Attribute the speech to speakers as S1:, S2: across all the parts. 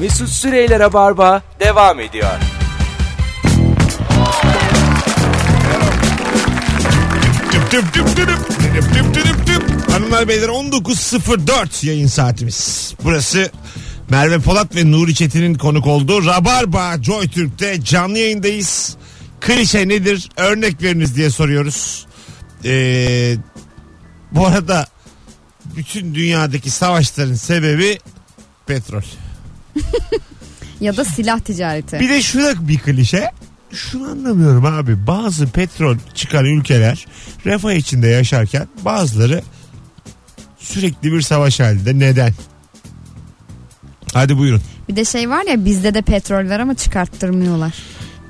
S1: Mesut Süreyler'e barba devam ediyor.
S2: Tüp tüp tüp tüp tüp tüp tüp tüp. Hanımlar beyler 19.04 yayın saatimiz. Burası Merve Polat ve Nuri Çetin'in konuk olduğu Rabarba Joy Türk'te canlı yayındayız. Klişe nedir? Örnek veriniz diye soruyoruz. Ee, bu arada bütün dünyadaki savaşların sebebi petrol.
S3: Ya da silah ticareti.
S2: Bir de şu da bir klişe. Şunu anlamıyorum abi. Bazı petrol çıkan ülkeler refah içinde yaşarken bazıları sürekli bir savaş halinde. Neden? Hadi buyurun.
S3: Bir de şey var ya bizde de petrol var ama çıkarttırmıyorlar.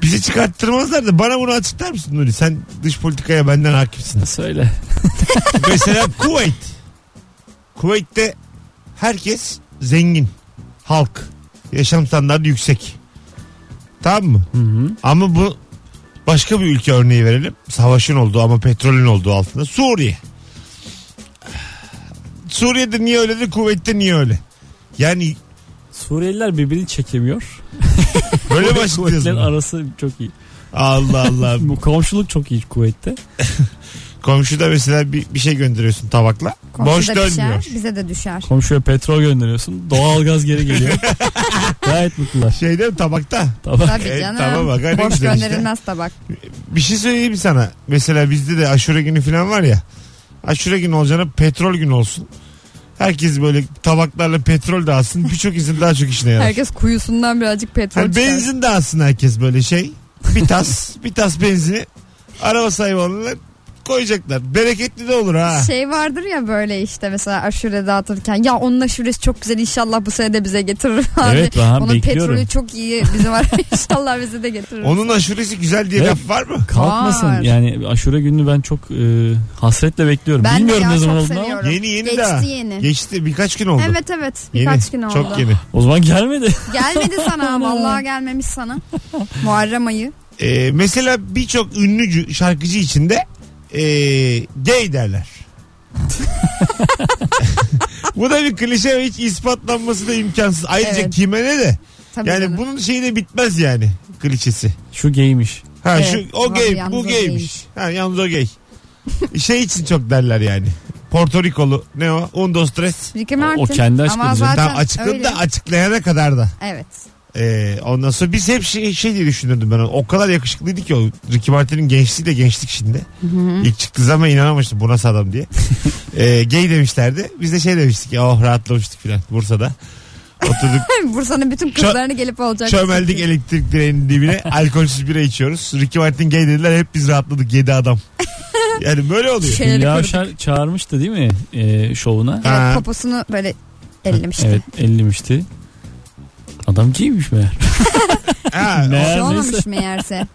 S2: Bizi çıkarttırmazlar da bana bunu açıklar mısın Nuri? Sen dış politikaya benden hakimsin.
S4: Söyle.
S2: Mesela Kuveyt. Kuveyt'te herkes zengin. Halk. Yaşam standartı yüksek. Tamam mı?
S4: Hı hı.
S2: Ama bu başka bir ülke örneği verelim. Savaşın olduğu ama petrolün olduğu altında. Suriye. Suriye'de niye öyle de kuvvette niye öyle? Yani
S4: Suriyeliler birbirini çekemiyor.
S2: böyle başlıyoruz.
S4: Kuvvetlerin
S2: buna.
S4: arası çok iyi.
S2: Allah Allah.
S4: Bu komşuluk çok iyi kuvvette.
S2: Komşuda mesela bir, bir şey gönderiyorsun tabakla.
S3: Komşuda şey.
S2: Boş dönmüyor.
S3: Düşer, bize de düşer.
S4: Komşuya petrol gönderiyorsun. Doğalgaz geri geliyor. Gayet mutlular.
S2: Şeyde mi tabakta?
S4: Tamam.
S3: Tabii
S2: E,
S3: canım.
S2: tamam bak, hani
S3: Boş
S2: güzel işte.
S3: gönderilmez tabak.
S2: Bir şey söyleyeyim sana. Mesela bizde de aşure günü falan var ya. Aşure günü olacağına petrol günü olsun. Herkes böyle tabaklarla petrol dağıtsın. Birçok insan daha çok işine yarar.
S3: Herkes kuyusundan birazcık petrol
S2: Hani
S3: çıkar.
S2: benzin de alsın herkes böyle şey. Bir tas, bir tas benzini araba sahibi olanlar koyacaklar. Bereketli de olur ha.
S3: Şey vardır ya böyle işte mesela aşure dağıtırken ya onun aşuresi çok güzel inşallah bu sene de bize getirir abi.
S4: Evet, ben
S3: onun
S4: bekliyorum.
S3: petrolü çok iyi bizim var inşallah bize de getirir.
S2: Onun aşuresi güzel diye
S4: Evet.
S2: laf var mı?
S4: Kalkmasın.
S3: Var.
S4: Yani aşure gününü ben çok e, hasretle bekliyorum.
S3: Ben de
S4: Bilmiyorum
S3: ya,
S4: ne zaman
S3: çok
S4: olduğunu ama.
S3: seviyorum.
S2: Yeni yeni
S3: Geçti
S2: daha.
S3: yeni.
S2: Geçti birkaç gün oldu.
S3: Evet evet
S2: Yeni.
S3: birkaç gün oldu.
S2: Çok yeni.
S4: O zaman gelmedi.
S3: Gelmedi sana vallahi gelmemiş sana. Muharrem ayı.
S2: Ee, mesela birçok ünlü cü- şarkıcı içinde ee, gay derler. Bu da bir klişe ve hiç ispatlanması da imkansız. Ayrıca
S3: Evet.
S2: kime ne de.
S3: Tabii
S2: Yani
S3: canım.
S2: bunun şeyi de bitmez yani klişesi.
S4: Şu geymiş.
S2: Ha
S3: Evet,
S2: şu o
S3: var,
S2: gay
S3: yalnız
S2: bu
S3: o
S2: gaymiş.
S3: gaymiş.
S2: Ha yalnız o gay. şey için çok derler yani. Porto Rikolu ne o? Un dos tres.
S3: Ricky
S4: O- o
S3: Martin.
S4: kendi aşkı
S3: Ama
S4: bizim.
S3: zaten
S2: Tam açıkladı
S3: öyle.
S2: da açıklayana kadar da.
S3: Evet.
S2: Ee, ondan sonra biz hep şey, şey diye düşünürdüm ben. onu. O kadar yakışıklıydı ki o Ricky Martin'in gençliği de gençlik şimdi. İlk çıktığı zaman inanamamıştım bu nasıl adam diye. ee, gay demişlerdi. Biz de şey demiştik ya oh rahatlamıştık filan Bursa'da. Oturduk
S3: Bursa'nın bütün kızlarını gelip olacak.
S2: çömeldik elektrik direğinin dibine alkolsüz bira içiyoruz. Ricky Martin gay dediler hep biz rahatladık yedi adam. Yani böyle oluyor.
S3: Şey- Şeyleri
S4: Hülya
S3: kırdık.
S4: Avşar çağırmıştı değil mi e, şovuna?
S2: Ha.
S3: Evet, poposunu böyle ellemişti.
S4: Evet ellemişti. Adam giymiş meğer.
S2: Ha,
S3: Bir
S2: o
S3: şey
S4: Neyse.
S3: olmamış meğerse.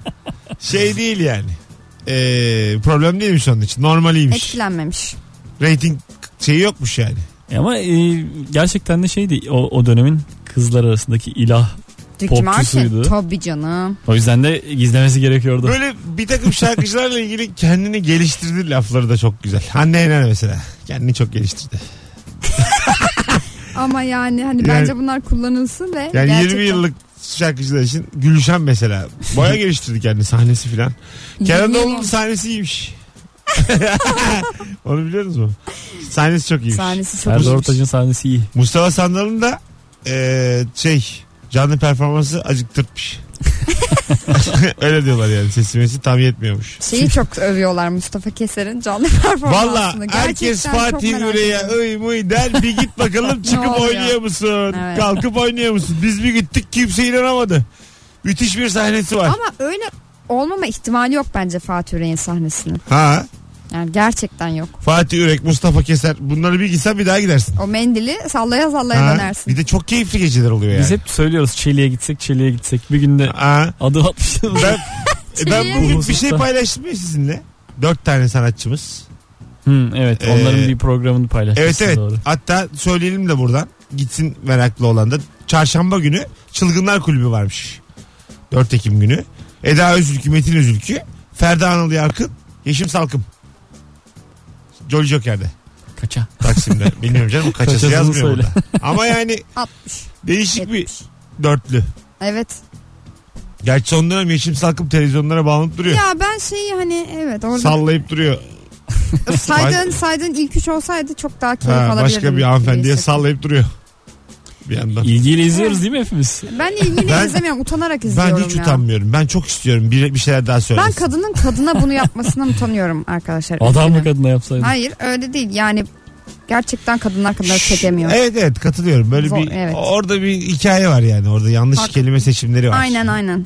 S2: şey değil yani. Ee, problem değilmiş onun için. Normaliymiş.
S3: Etkilenmemiş.
S2: Rating şeyi yokmuş yani.
S4: Ama e, gerçekten de şeydi o, o dönemin kızlar arasındaki ilah.
S3: Ricky Martin.
S4: Popçusuydu.
S3: Tabii canım.
S4: O yüzden de gizlemesi gerekiyordu.
S2: Böyle bir takım şarkıcılarla ilgili kendini geliştirdi lafları da çok güzel. Hande Yener mesela. Kendini çok geliştirdi.
S3: Ama yani hani
S2: Yani-
S3: bence bunlar kullanılsın ve
S2: Yani
S3: gerçekten
S2: 20 yıllık şarkıcılar için Gülşen mesela. Baya geliştirdi kendini sahnesi filan.
S3: 20
S2: Kenan
S3: yıl
S2: Doğulu'nun
S3: olmuş.
S2: sahnesi iyiymiş. Onu biliyorsunuz mu? Sahnesi çok iyiymiş.
S3: sahnesi çok
S4: Serdar
S3: iyiymiş.
S4: Ortaç'ın sahnesi iyi.
S2: Mustafa Sandal'ın da eee, şey canlı performansı acıktırtmış. Öyle diyorlar yani sesimesi tam yetmiyormuş.
S3: Şeyi çok övüyorlar Mustafa Keser'in canlı performansını.
S2: Valla herkes
S3: Gerçekten çok
S2: Fatih
S3: merak
S2: Yüreğe
S3: ediyorum.
S2: ıy mıy der bir git bakalım
S3: Ne
S2: çıkıp
S3: oluyor?
S2: oynuyor musun?
S3: Evet.
S2: Kalkıp oynuyor musun? Biz bir gittik kimse inanamadı. Müthiş bir sahnesi var.
S3: Ama öyle olmama ihtimali yok bence Fatih Yüreğin sahnesinin.
S2: Ha
S3: Yani gerçekten yok.
S2: Fatih Yürek, Mustafa Keser bunları bir gitsen bir daha gidersin.
S3: O mendili sallaya sallaya
S2: Ha,
S3: dönersin.
S2: bir de çok keyifli geceler oluyor yani.
S4: Biz hep söylüyoruz Çeliğe gitsek Çeliğe gitsek. Bir günde
S2: Ha,
S4: adı atmışız.
S2: ben, ben
S3: Çeliğe
S2: bugün bir
S4: gitsin.
S2: şey paylaştım ya sizinle. Dört tane sanatçımız.
S4: Hı, evet
S2: Ee,
S4: onların bir programını
S2: Evet
S4: paylaşmışsın
S2: evet.
S4: doğru.
S2: Hatta söyleyelim de buradan. Gitsin meraklı olan da. Çarşamba günü Çılgınlar Kulübü varmış. 4 Ekim günü. Eda Özülkü, Metin Özülkü, Ferda Anıl Yarkın, Yeşim Salkım. Jolly Joker'de.
S4: Kaça.
S2: Taksim'de. Bilmiyorum canım kaçası
S4: Kaçasını
S2: yazmıyor
S4: söyle.
S2: burada. Ama yani
S3: 60.
S2: değişik bir dörtlü.
S3: Evet.
S2: Gerçi son dönem Yeşim Salkım televizyonlara bağlanıp duruyor.
S3: Ya ben şeyi hani evet orada
S2: Sallayıp duruyor.
S3: saydığın, saydığın ilk üç olsaydı çok daha keyif
S2: Ha,
S3: alabilirdim.
S2: başka bir
S3: gibi
S2: hanımefendiye
S3: hissettim.
S2: sallayıp duruyor. Bir yandan.
S4: İlgiyle izliyoruz değil mi hepimiz?
S3: Ben ilgili
S2: Ben-
S3: izlemiyorum utanarak
S2: Ben
S3: izliyorum
S2: hiç
S3: ya.
S2: utanmıyorum. Ben çok istiyorum bir, bir şeyler daha
S3: Ben
S2: söylesin.
S3: kadının kadına bunu yapmasından utanıyorum arkadaşlar.
S4: Adam mı
S3: Üzgünüm.
S4: kadına yapsaydı?
S3: Hayır öyle değil yani gerçekten kadınlar kadar çekemiyor.
S2: Evet evet katılıyorum. Böyle
S3: Zor,
S2: bir
S3: evet.
S2: orada bir hikaye var yani. Orada yanlış
S3: Haklı.
S2: kelime seçimleri var.
S3: Aynen aynen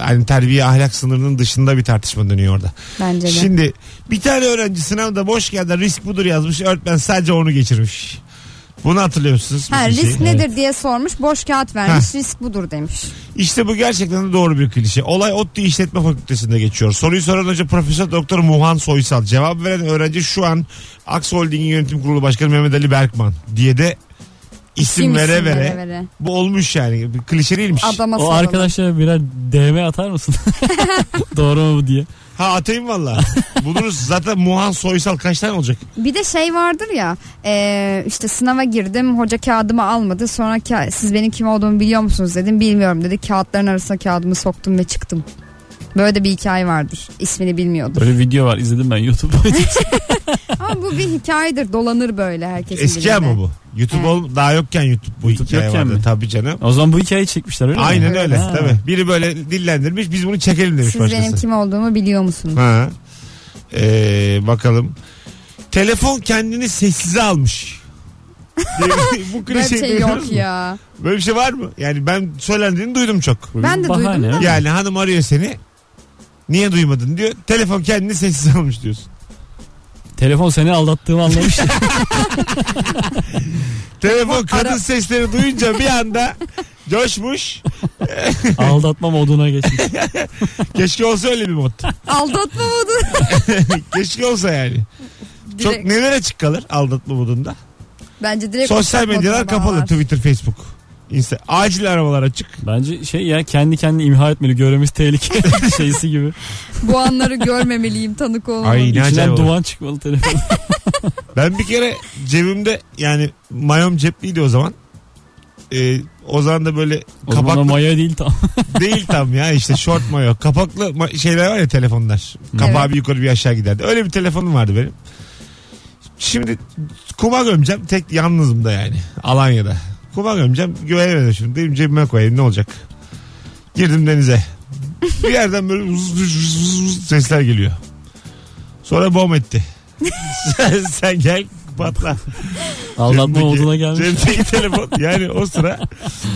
S2: Hani terbiye ahlak sınırının dışında bir tartışma dönüyor orada.
S3: bence de.
S2: Şimdi bir tane öğrenci sınavda boş geldi risk budur yazmış. Öğretmen sadece onu geçirmiş. Bunu hatırlıyor musunuz? şey.
S3: Ha,
S2: Bu klişeyi?
S3: risk nedir diye sormuş boş kağıt vermiş risk budur demiş.
S2: İşte bu gerçekten de doğru bir klişe. Olay ODTÜ İşletme Fakültesi'nde geçiyor. Soruyu soran hoca Profesör Doktor Muhan Soysal. Cevap veren öğrenci şu an Aks Holding'in yönetim kurulu başkanı Mehmet Ali Berkman diye de isim,
S3: Kim
S2: vere,
S3: isim
S2: vere Bu olmuş yani. Bir klişe değilmiş.
S3: Adama
S4: O
S3: soralım.
S4: arkadaşlara birer DM atar mısın? Doğru mu bu diye.
S2: Ha atayım valla. Buluruz. Zaten Muhan Soysal kaç tane olacak?
S3: Bir de şey vardır ya e, işte sınava girdim hoca kağıdımı almadı sonra ka- siz benim kim olduğumu biliyor musunuz dedim bilmiyorum dedi kağıtların arasına kağıdımı soktum ve çıktım. Böyle de bir hikaye vardır ismini bilmiyordur.
S4: Böyle video var izledim ben YouTube'da.
S3: Ama bu bir hikayedir dolanır böyle herkesin
S2: Eski
S3: dilinde.
S2: ama bu. YouTube
S3: Evet.
S2: ol- daha yokken YouTube bu
S4: YouTube
S2: hikaye
S4: yokken
S2: vardı.
S4: mi?
S2: Tabii canım.
S4: o zaman bu hikayeyi çekmişler öyle mi?
S2: Aynen öyle.
S4: Ha.
S2: Tabii. Biri böyle dillendirmiş. Biz bunu çekelim demiş
S3: Siz
S2: başkası.
S3: benim kim olduğumu biliyor musunuz?
S2: Ha. Ee, bakalım. Telefon kendini sessize almış. Bu
S3: Böyle bir
S2: klişeyi
S3: şey
S2: duydunuz
S3: yok
S2: mu?
S3: ya.
S2: Böyle bir şey var mı? Yani ben söylendiğini duydum çok.
S4: Bu
S3: Ben
S4: bir
S3: de duydum da.
S2: Yani hanım arıyor seni. Niye duymadın diyor. Telefon kendini sessize almış diyorsun.
S4: Telefon seni aldattığımı anlamış.
S2: Telefon kadın sesleri duyunca bir anda coşmuş.
S4: Aldatma moduna geçmiş.
S2: Keşke olsa öyle bir mod.
S3: Aldatma modu.
S2: Keşke olsa yani. Çok
S3: Direkt-
S2: neler açık kalır aldatma modunda.
S3: Bence direkt
S2: Sosyal
S3: uçak
S2: medyalar
S3: moduna
S2: kapalı.
S3: bağlar.
S2: Twitter, Facebook. Insta. Acil arabalar açık.
S4: Bence şey ya kendi kendini imha etmeli. Görevimiz tehlike şeysi gibi.
S3: Bu anları görmemeliyim tanık
S2: Ay.
S3: olmalı.
S2: Ne acayip
S4: İçinden
S2: olur.
S4: duman çıkmalı telefon.
S2: Ben bir kere cebimde yani mayom cepliydi o zaman. Ee, o zaman da böyle
S4: O zaman da
S2: kapaklı
S4: maya değil tam.
S2: değil tam ya işte short mayo. Kapaklı ma- şeyler var ya telefonlar. Kapağı
S3: Evet.
S2: bir yukarı bir aşağı giderdi. Öyle bir telefonum vardı benim. Şimdi kuma gömeceğim. Tek yalnızım da yani. Alanya'da. Kuma gömeceğim. Güvenemedim şimdi. Dedim cebime koyayım ne olacak. Girdim denize. bir yerden böyle vız vız vız vız vız sesler geliyor. Sonra bom etti. sen, sen gel patla.
S4: Aldatma
S2: Cebimdeki-
S4: moduna gelmiş.
S2: Cebimdeki telefon yani o sıra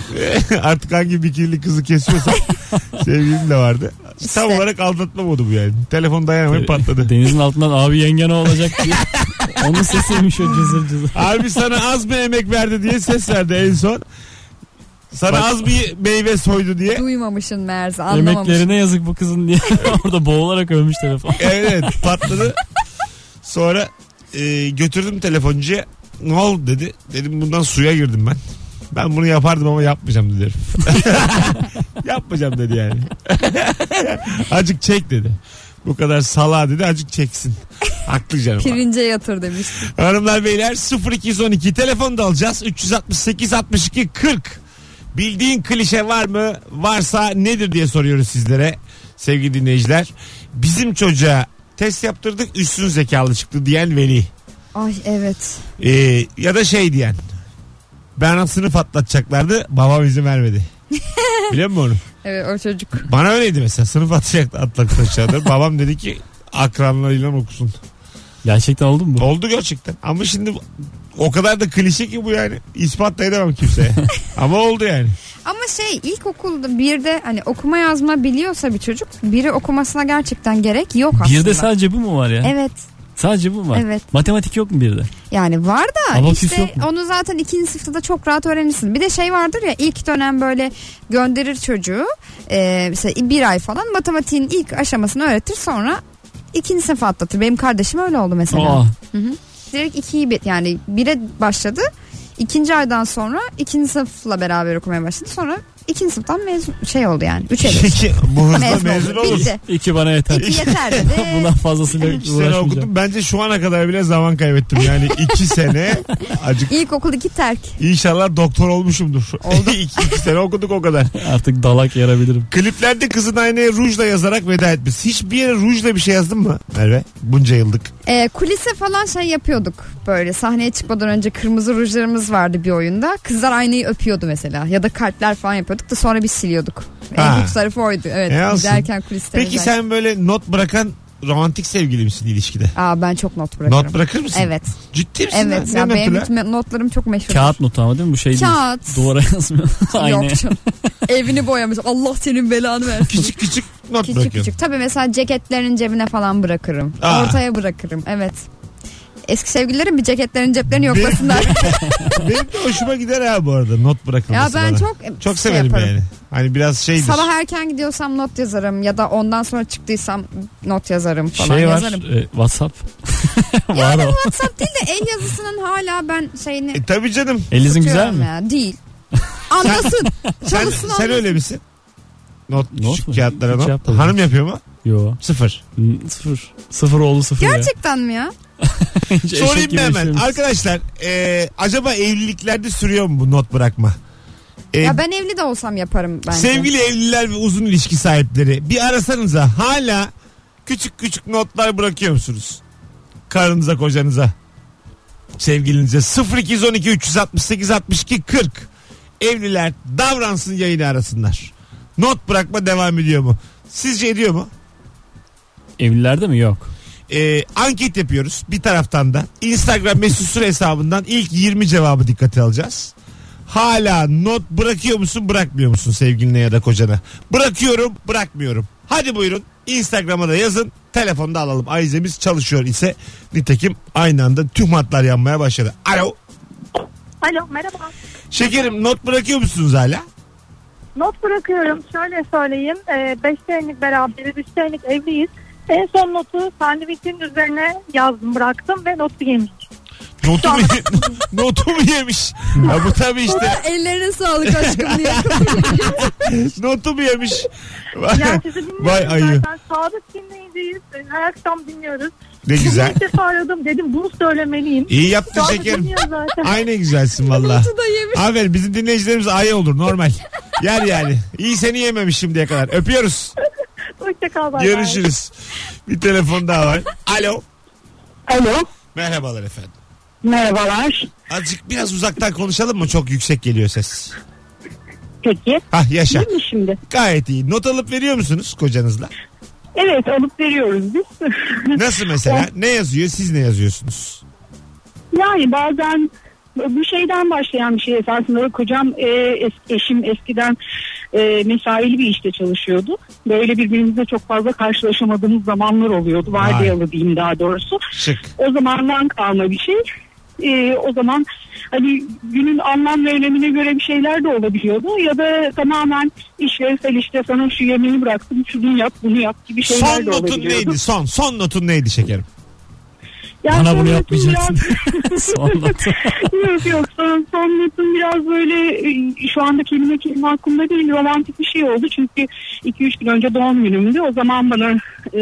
S2: artık hangi bikirli kızı kesiyorsam sevgilim de vardı. Tam
S3: İşte.
S2: olarak aldatma modu bu yani. Telefon
S4: Ee,
S2: dayanamayıp patladı.
S4: Denizin altından abi yengen o olacak diye. Onun sesiymiş o cızır cızır.
S2: Abi sana az mı emek verdi diye ses verdi en son. Sana
S4: Bak-
S2: az bir meyve soydu diye.
S3: Duymamışın meğerse anlamamışsın.
S4: Emeklerine yazık bu kızın diye. Orada boğularak ölmüş telefon.
S2: Evet patladı. Sonra e, götürdüm telefoncuya. Ne oldu dedi. Dedim bundan suya girdim ben. Ben bunu yapardım ama yapmayacağım dedi. herif. yapmayacağım dedi yani. Acık çek dedi. Bu kadar sala dedi acık çeksin. Haklı canım.
S3: Pirince yatır demiştim.
S2: Hanımlar beyler 0212 telefon da alacağız 368 62 40 bildiğin klişe var mı varsa nedir diye soruyoruz sizlere sevgili dinleyiciler bizim çocuğa test yaptırdık üstün zekalı çıktı diyen veli
S3: Ay evet.
S2: Ee, ya da şey diyen ben sınıf atlatacaklardı babam izin vermedi biliyor musun onu
S3: Evet o çocuk.
S2: bana öyleydi mesela sınıf atacak atlatacaklardı babam dedi ki akranlarıyla okusun
S4: Gerçekten oldu mu bu?
S2: Oldu gerçekten. Ama şimdi bu- o kadar da klişe ki bu yani. İspat da edemem kimseye. Ama oldu yani.
S3: Ama şey ilkokulda bir de hani okuma yazma biliyorsa bir çocuk biri okumasına gerçekten gerek yok aslında.
S4: Bir de sadece bu mu var ya?
S3: Evet
S4: Sadece bu mu var?
S3: evet
S4: Matematik yok mu bir de?
S3: yani var da
S4: Abaküs
S3: işte
S4: yok mu?
S3: onu zaten ikinci sınıfta da çok rahat öğrenirsin. Bir de şey vardır ya ilk dönem böyle gönderir çocuğu e, mesela bir ay falan matematiğin ilk aşamasını öğretir sonra ikinci sınıfa atlatır. Benim kardeşim öyle oldu mesela.
S4: Aa,
S3: Direkt ikiyi bir, yani bire başladı. İkinci aydan sonra ikinci sınıfla beraber okumaya başladı. Sonra İkinci sınıftan mezun şey oldu yani. Üç ele.
S2: Peki, bu hızla
S3: Mezun
S2: mezun
S3: oldum.
S2: olursun.
S3: Bitti.
S4: İki bana yeter.
S3: İki yeter dedi.
S4: Bundan fazlasıyla
S2: İki sene
S4: uğraşmayacağım.
S2: okudum. Bence şu ana kadar bile zaman kaybettim. Yani iki sene acık
S3: İlkokul iki terk.
S2: İnşallah doktor olmuşumdur.
S3: Oldu.
S2: iki, iki sene okuduk o kadar.
S4: Artık dalak yarabilirim.
S2: Kliplerde kızın aynaya rujla yazarak veda etmiş. Hiçbir yere rujla bir şey yazdın mı Merve? Bunca yıllık.
S3: Ee, kulise falan şey yapıyorduk böyle sahneye çıkmadan önce kırmızı rujlarımız vardı bir oyunda. Kızlar aynayı öpüyordu mesela ya da kalpler falan yapıyorduk da sonra bir siliyorduk.
S2: Ha.
S3: En büyük zarafı oydu evet.
S2: E, olsun.
S3: Giderken kuliste.
S2: Peki
S3: özel-
S2: sen böyle not bırakan romantik sevgili misin ilişkide?
S3: Aa ben çok not bırakırım.
S2: Not bırakır mısın?
S3: Evet.
S2: Ciddi misin? lan?
S3: Evet.
S2: Ne
S3: Ya
S2: notu
S3: benim
S2: lan?
S3: bütün notlarım çok meşhur.
S4: Kağıt notu ama değil mi? Bu şey değil.
S3: Kağıt.
S4: Duvara yazmıyor. Aynı.
S3: Yok şey canım. Evini boyamış. Allah senin belanı versin.
S2: Küçük küçük not
S3: küçük
S2: bırakıyorsun.
S3: küçük. Tabii mesela ceketlerin cebine falan bırakırım.
S2: Aa.
S3: Ortaya bırakırım. Evet. Eski sevgililerim bir ceketlerin ceplerini
S2: Benim-
S3: yoklasınlar.
S2: Benim de hoşuma gider ha bu arada not
S3: ya
S2: bırakılması
S3: ben
S2: bana.
S3: çok
S2: Çok
S3: şey
S2: severim
S3: yaparım.
S2: yani. Hani biraz şeydir.
S3: Sabah erken gidiyorsam not yazarım ya da ondan sonra çıktıysam not yazarım falan
S4: Şey var.
S3: yazarım.
S4: e, WhatsApp. var o.
S3: WhatsApp değil de el yazısının hala ben şeyini
S2: E, tabii canım.
S4: Elinizin güzel
S3: tutuyorum
S4: mi?
S3: ya. Değil. Anlasın.
S2: Sen, sen
S3: Çalışsın anlasın.
S2: öyle misin? Not,
S4: Not
S2: küçük
S4: mu?
S2: kağıtlara
S4: Hiç
S2: not.
S4: yapmadım.
S2: Hanım yapıyor mu?
S4: Yo.
S2: Sıfır.
S4: N- Sıfır. Sıfır oldu sıfır
S3: Gerçekten mi ya?
S4: ya. Hiç eşek
S2: Sorayım
S4: gibi
S2: ben hemen.
S4: yaşıyormuş.
S2: Arkadaşlar e, acaba evliliklerde sürüyor mu bu not bırakma? E,
S3: Ya ben evli de olsam yaparım bence.
S2: sevgili evliler ve uzun ilişki sahipleri bir arasanıza hala küçük küçük notlar bırakıyor musunuz? Karınıza kocanıza sevgilinize 0212 368 62 40 evliler davransın yayını arasınlar. Not bırakma devam ediyor mu? Sizce ediyor mu?
S4: Evlilerde mi? Yok.
S2: e, anket yapıyoruz bir taraftan da. Instagram mesut süre hesabından ilk 20 cevabı dikkate alacağız. Hala not bırakıyor musun bırakmıyor musun sevgiline ya da kocana? Bırakıyorum bırakmıyorum. Hadi buyurun Instagram'a da yazın. Telefonda alalım. Ayizemiz çalışıyor ise nitekim aynı anda tüm hatlar yanmaya başladı. Alo.
S5: Alo merhaba.
S2: Şekerim not bırakıyor musunuz hala?
S5: Not bırakıyorum. Şöyle söyleyeyim. 5 senelik beraberiz. 3 senelik evliyiz. En son notu sandviçin üzerine yazdım bıraktım ve notu yemiş.
S2: Notu mu, notu mu yemiş? Ya bu tabii işte.
S3: Ellerine sağlık aşkım diye.
S2: Notu mu yemiş?
S5: Yani sizi dinliyorum.
S2: Vay ayı.
S5: Zaten sadık dinleyiciyiz. E, Her akşam dinliyoruz.
S2: Ne
S5: Bugün
S2: güzel.
S5: ilk defa aradım. Dedim bunu söylemeliyim.
S2: İyi
S5: Şu
S2: yaptın
S5: anda
S2: şekerim.
S5: dinliyor zaten.
S2: Aynı güzelsin valla.
S3: da yemiş.
S2: Aferin bizim dinleyicilerimiz ayı olur normal. Yer yani. İyi seni yememiş şimdiye kadar. Öpüyoruz.
S5: Hoşçakal. bay bay.
S2: Görüşürüz. Bir telefon daha var. Alo.
S6: Alo.
S2: Merhabalar efendim.
S6: Merhabalar.
S2: Azıcık biraz uzaktan konuşalım mı? Çok yüksek geliyor ses.
S6: Peki.
S2: Hah yaşa.
S6: Değil mi şimdi?
S2: Gayet iyi. Not alıp veriyor musunuz kocanızla?
S6: Evet alıp veriyoruz biz.
S2: Nasıl mesela? Ne yazıyor? Siz ne yazıyorsunuz?
S6: yani bazen bu şeyden başlayan bir şey esasında kocam e, es- eşim eskiden e, mesaili bir işte çalışıyordu. Böyle birbirimizle çok fazla karşılaşamadığımız zamanlar oluyordu.
S2: Vay.
S6: Vardiyalı diyeyim daha doğrusu.
S2: Şık.
S6: O zamandan kalma bir şey. Ee, o zaman hani günün anlam ve önemine göre bir şeyler de olabiliyordu. Ya da tamamen işlevsel işte sana şu yemeği bıraktım, şunu yap, bunu yap gibi şeyler
S2: Son
S6: de
S2: notun
S6: olabiliyordu.
S2: neydi? Son. Son notun neydi şekerim?
S6: Yani
S4: Bana
S6: son
S4: bunu
S6: notum
S4: yapmayacaksın. Son notu.
S6: Biraz, yok yok son, son notum biraz böyle e, şu anda kelime kelime aklımda değil romantik bir şey oldu. Çünkü 2-3 gün önce doğum günümdü. O zaman bana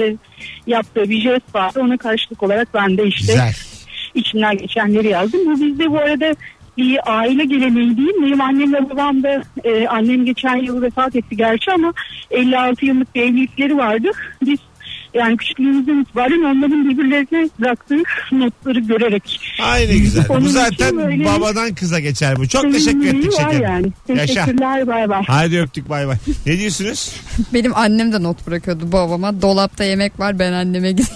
S6: e, yaptığı bir jest vardı. Ona karşılık olarak ben de işte
S2: Güzel.
S6: içinden geçenleri yazdım. Bu bizde bu arada bir aile geleneği değil. Benim annem ve babam da e, annem geçen yıl vefat etti gerçi ama 56 yıllık bir evlilikleri vardı. Biz yani küçüklüğümüzden itibaren onların birbirlerine bıraktığı notları görerek.
S2: Aynı güzel.
S6: Onun
S2: Bu
S6: için
S2: zaten
S6: böyle-
S2: babadan kıza geçer bu. Çok teşekkür ettik
S6: sevimliliği var
S2: şekerim.
S6: Yani.
S2: Yaşa.
S6: Teşekkürler bay bay.
S2: Hadi öptük bay bay. Ne diyorsunuz?
S3: Benim annem de not bırakıyordu babama. Dolapta yemek var ben anneme gidiyorum.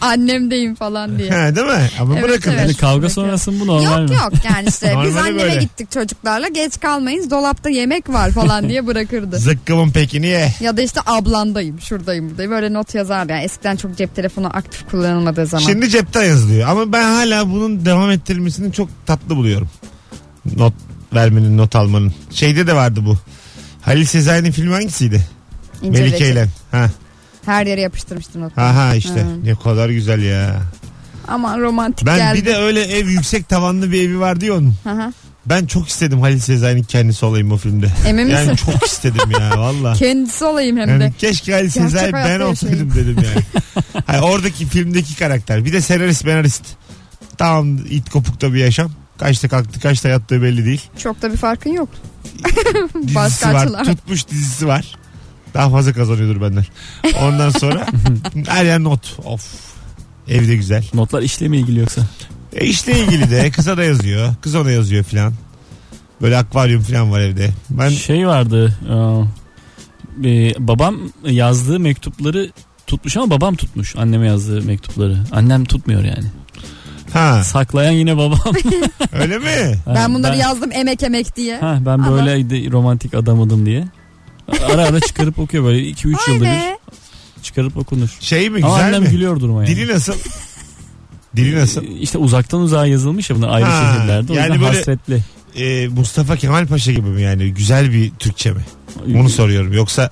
S3: Annemdeyim falan diye.
S2: Ha, değil mi? Ama
S3: Evet,
S2: bırakın.
S3: evet.
S4: Yani Hani kavga
S3: Peki.
S4: sonrası mı bu normal
S3: Yok
S4: mi?
S3: yok yani işte biz
S2: Normali
S3: anneme
S2: böyle.
S3: gittik çocuklarla geç kalmayız dolapta yemek var falan diye bırakırdı.
S2: Zıkkımın pekini ye.
S3: ya da işte ablandayım şuradayım buradayım böyle not yazardı yani eskiden çok cep telefonu aktif kullanılmadığı zaman.
S2: Şimdi cepten yazılıyor. Ama ben hala bunun devam ettirilmesini çok tatlı buluyorum. Not vermenin, not almanın. Şeyde de vardı bu. Halil Sezai'nin filmi hangisiydi?
S3: İnce
S2: Melike
S3: reçel.
S2: ile. Ha.
S3: Her yere yapıştırmıştı not.
S2: ha ha işte.
S3: Hı.
S2: Ne kadar güzel ya.
S3: Aman romantik
S2: Ben
S3: geldi.
S2: bir de öyle ev yüksek tavanlı bir evi vardı ya onun.
S3: Hı hı.
S2: Ben çok istedim Halil Sezai'nin kendisi olayım bu filmde.
S3: Emin
S2: yani
S3: misin?
S2: çok istedim ya valla.
S3: Kendisi olayım hem de.
S2: Yani keşke Halil
S3: Gerçek
S2: Sezai
S3: hayatta
S2: ben olsaydım dedim yani. Hayır, oradaki filmdeki karakter. Bir de senarist menarist. Tamam it kopukta bir yaşam. Kaçta kalktı kaçta yattığı belli değil.
S3: Çok da bir farkın yok.
S2: dizisi var.
S3: Başkaçılar.
S2: Tutmuş dizisi var. Daha fazla kazanıyordur benden. Ondan sonra her yer not. Of. Evde güzel.
S4: Notlar işle mi ilgili yoksa?
S2: E işle ilgili de kıza da yazıyor. Kız ona yazıyor filan. Böyle akvaryum filan var evde. Ben
S4: Şey vardı. e, e, babam yazdığı mektupları tutmuş ama babam tutmuş anneme yazdığı mektupları. Annem tutmuyor yani.
S2: ha
S4: Saklayan yine babam.
S2: öyle mi?
S3: Ben bunları yazdım emek emek diye.
S4: Ha, ben
S3: Adam.
S4: böyle de- romantik adamadım diye. Ara ara çıkarıp okuyor böyle 2-3
S3: Vay
S4: yılda
S3: be.
S4: bir çıkarıp okunur.
S2: Şey mi
S4: Ama
S2: güzel
S4: annem
S2: mi?
S4: gülüyor duruma yani.
S2: Dili nasıl? Dili nasıl?
S4: E, İşte uzaktan uzağa yazılmış ya bunlar ayrı
S2: Ha,
S4: şehirlerde. O
S2: yani
S4: yüzden
S2: böyle-
S4: hasretli.
S2: E, Mustafa Kemal Paşa gibi mi yani? Güzel bir Türkçe mi?
S4: Ee,
S2: Bunu soruyorum. Yoksa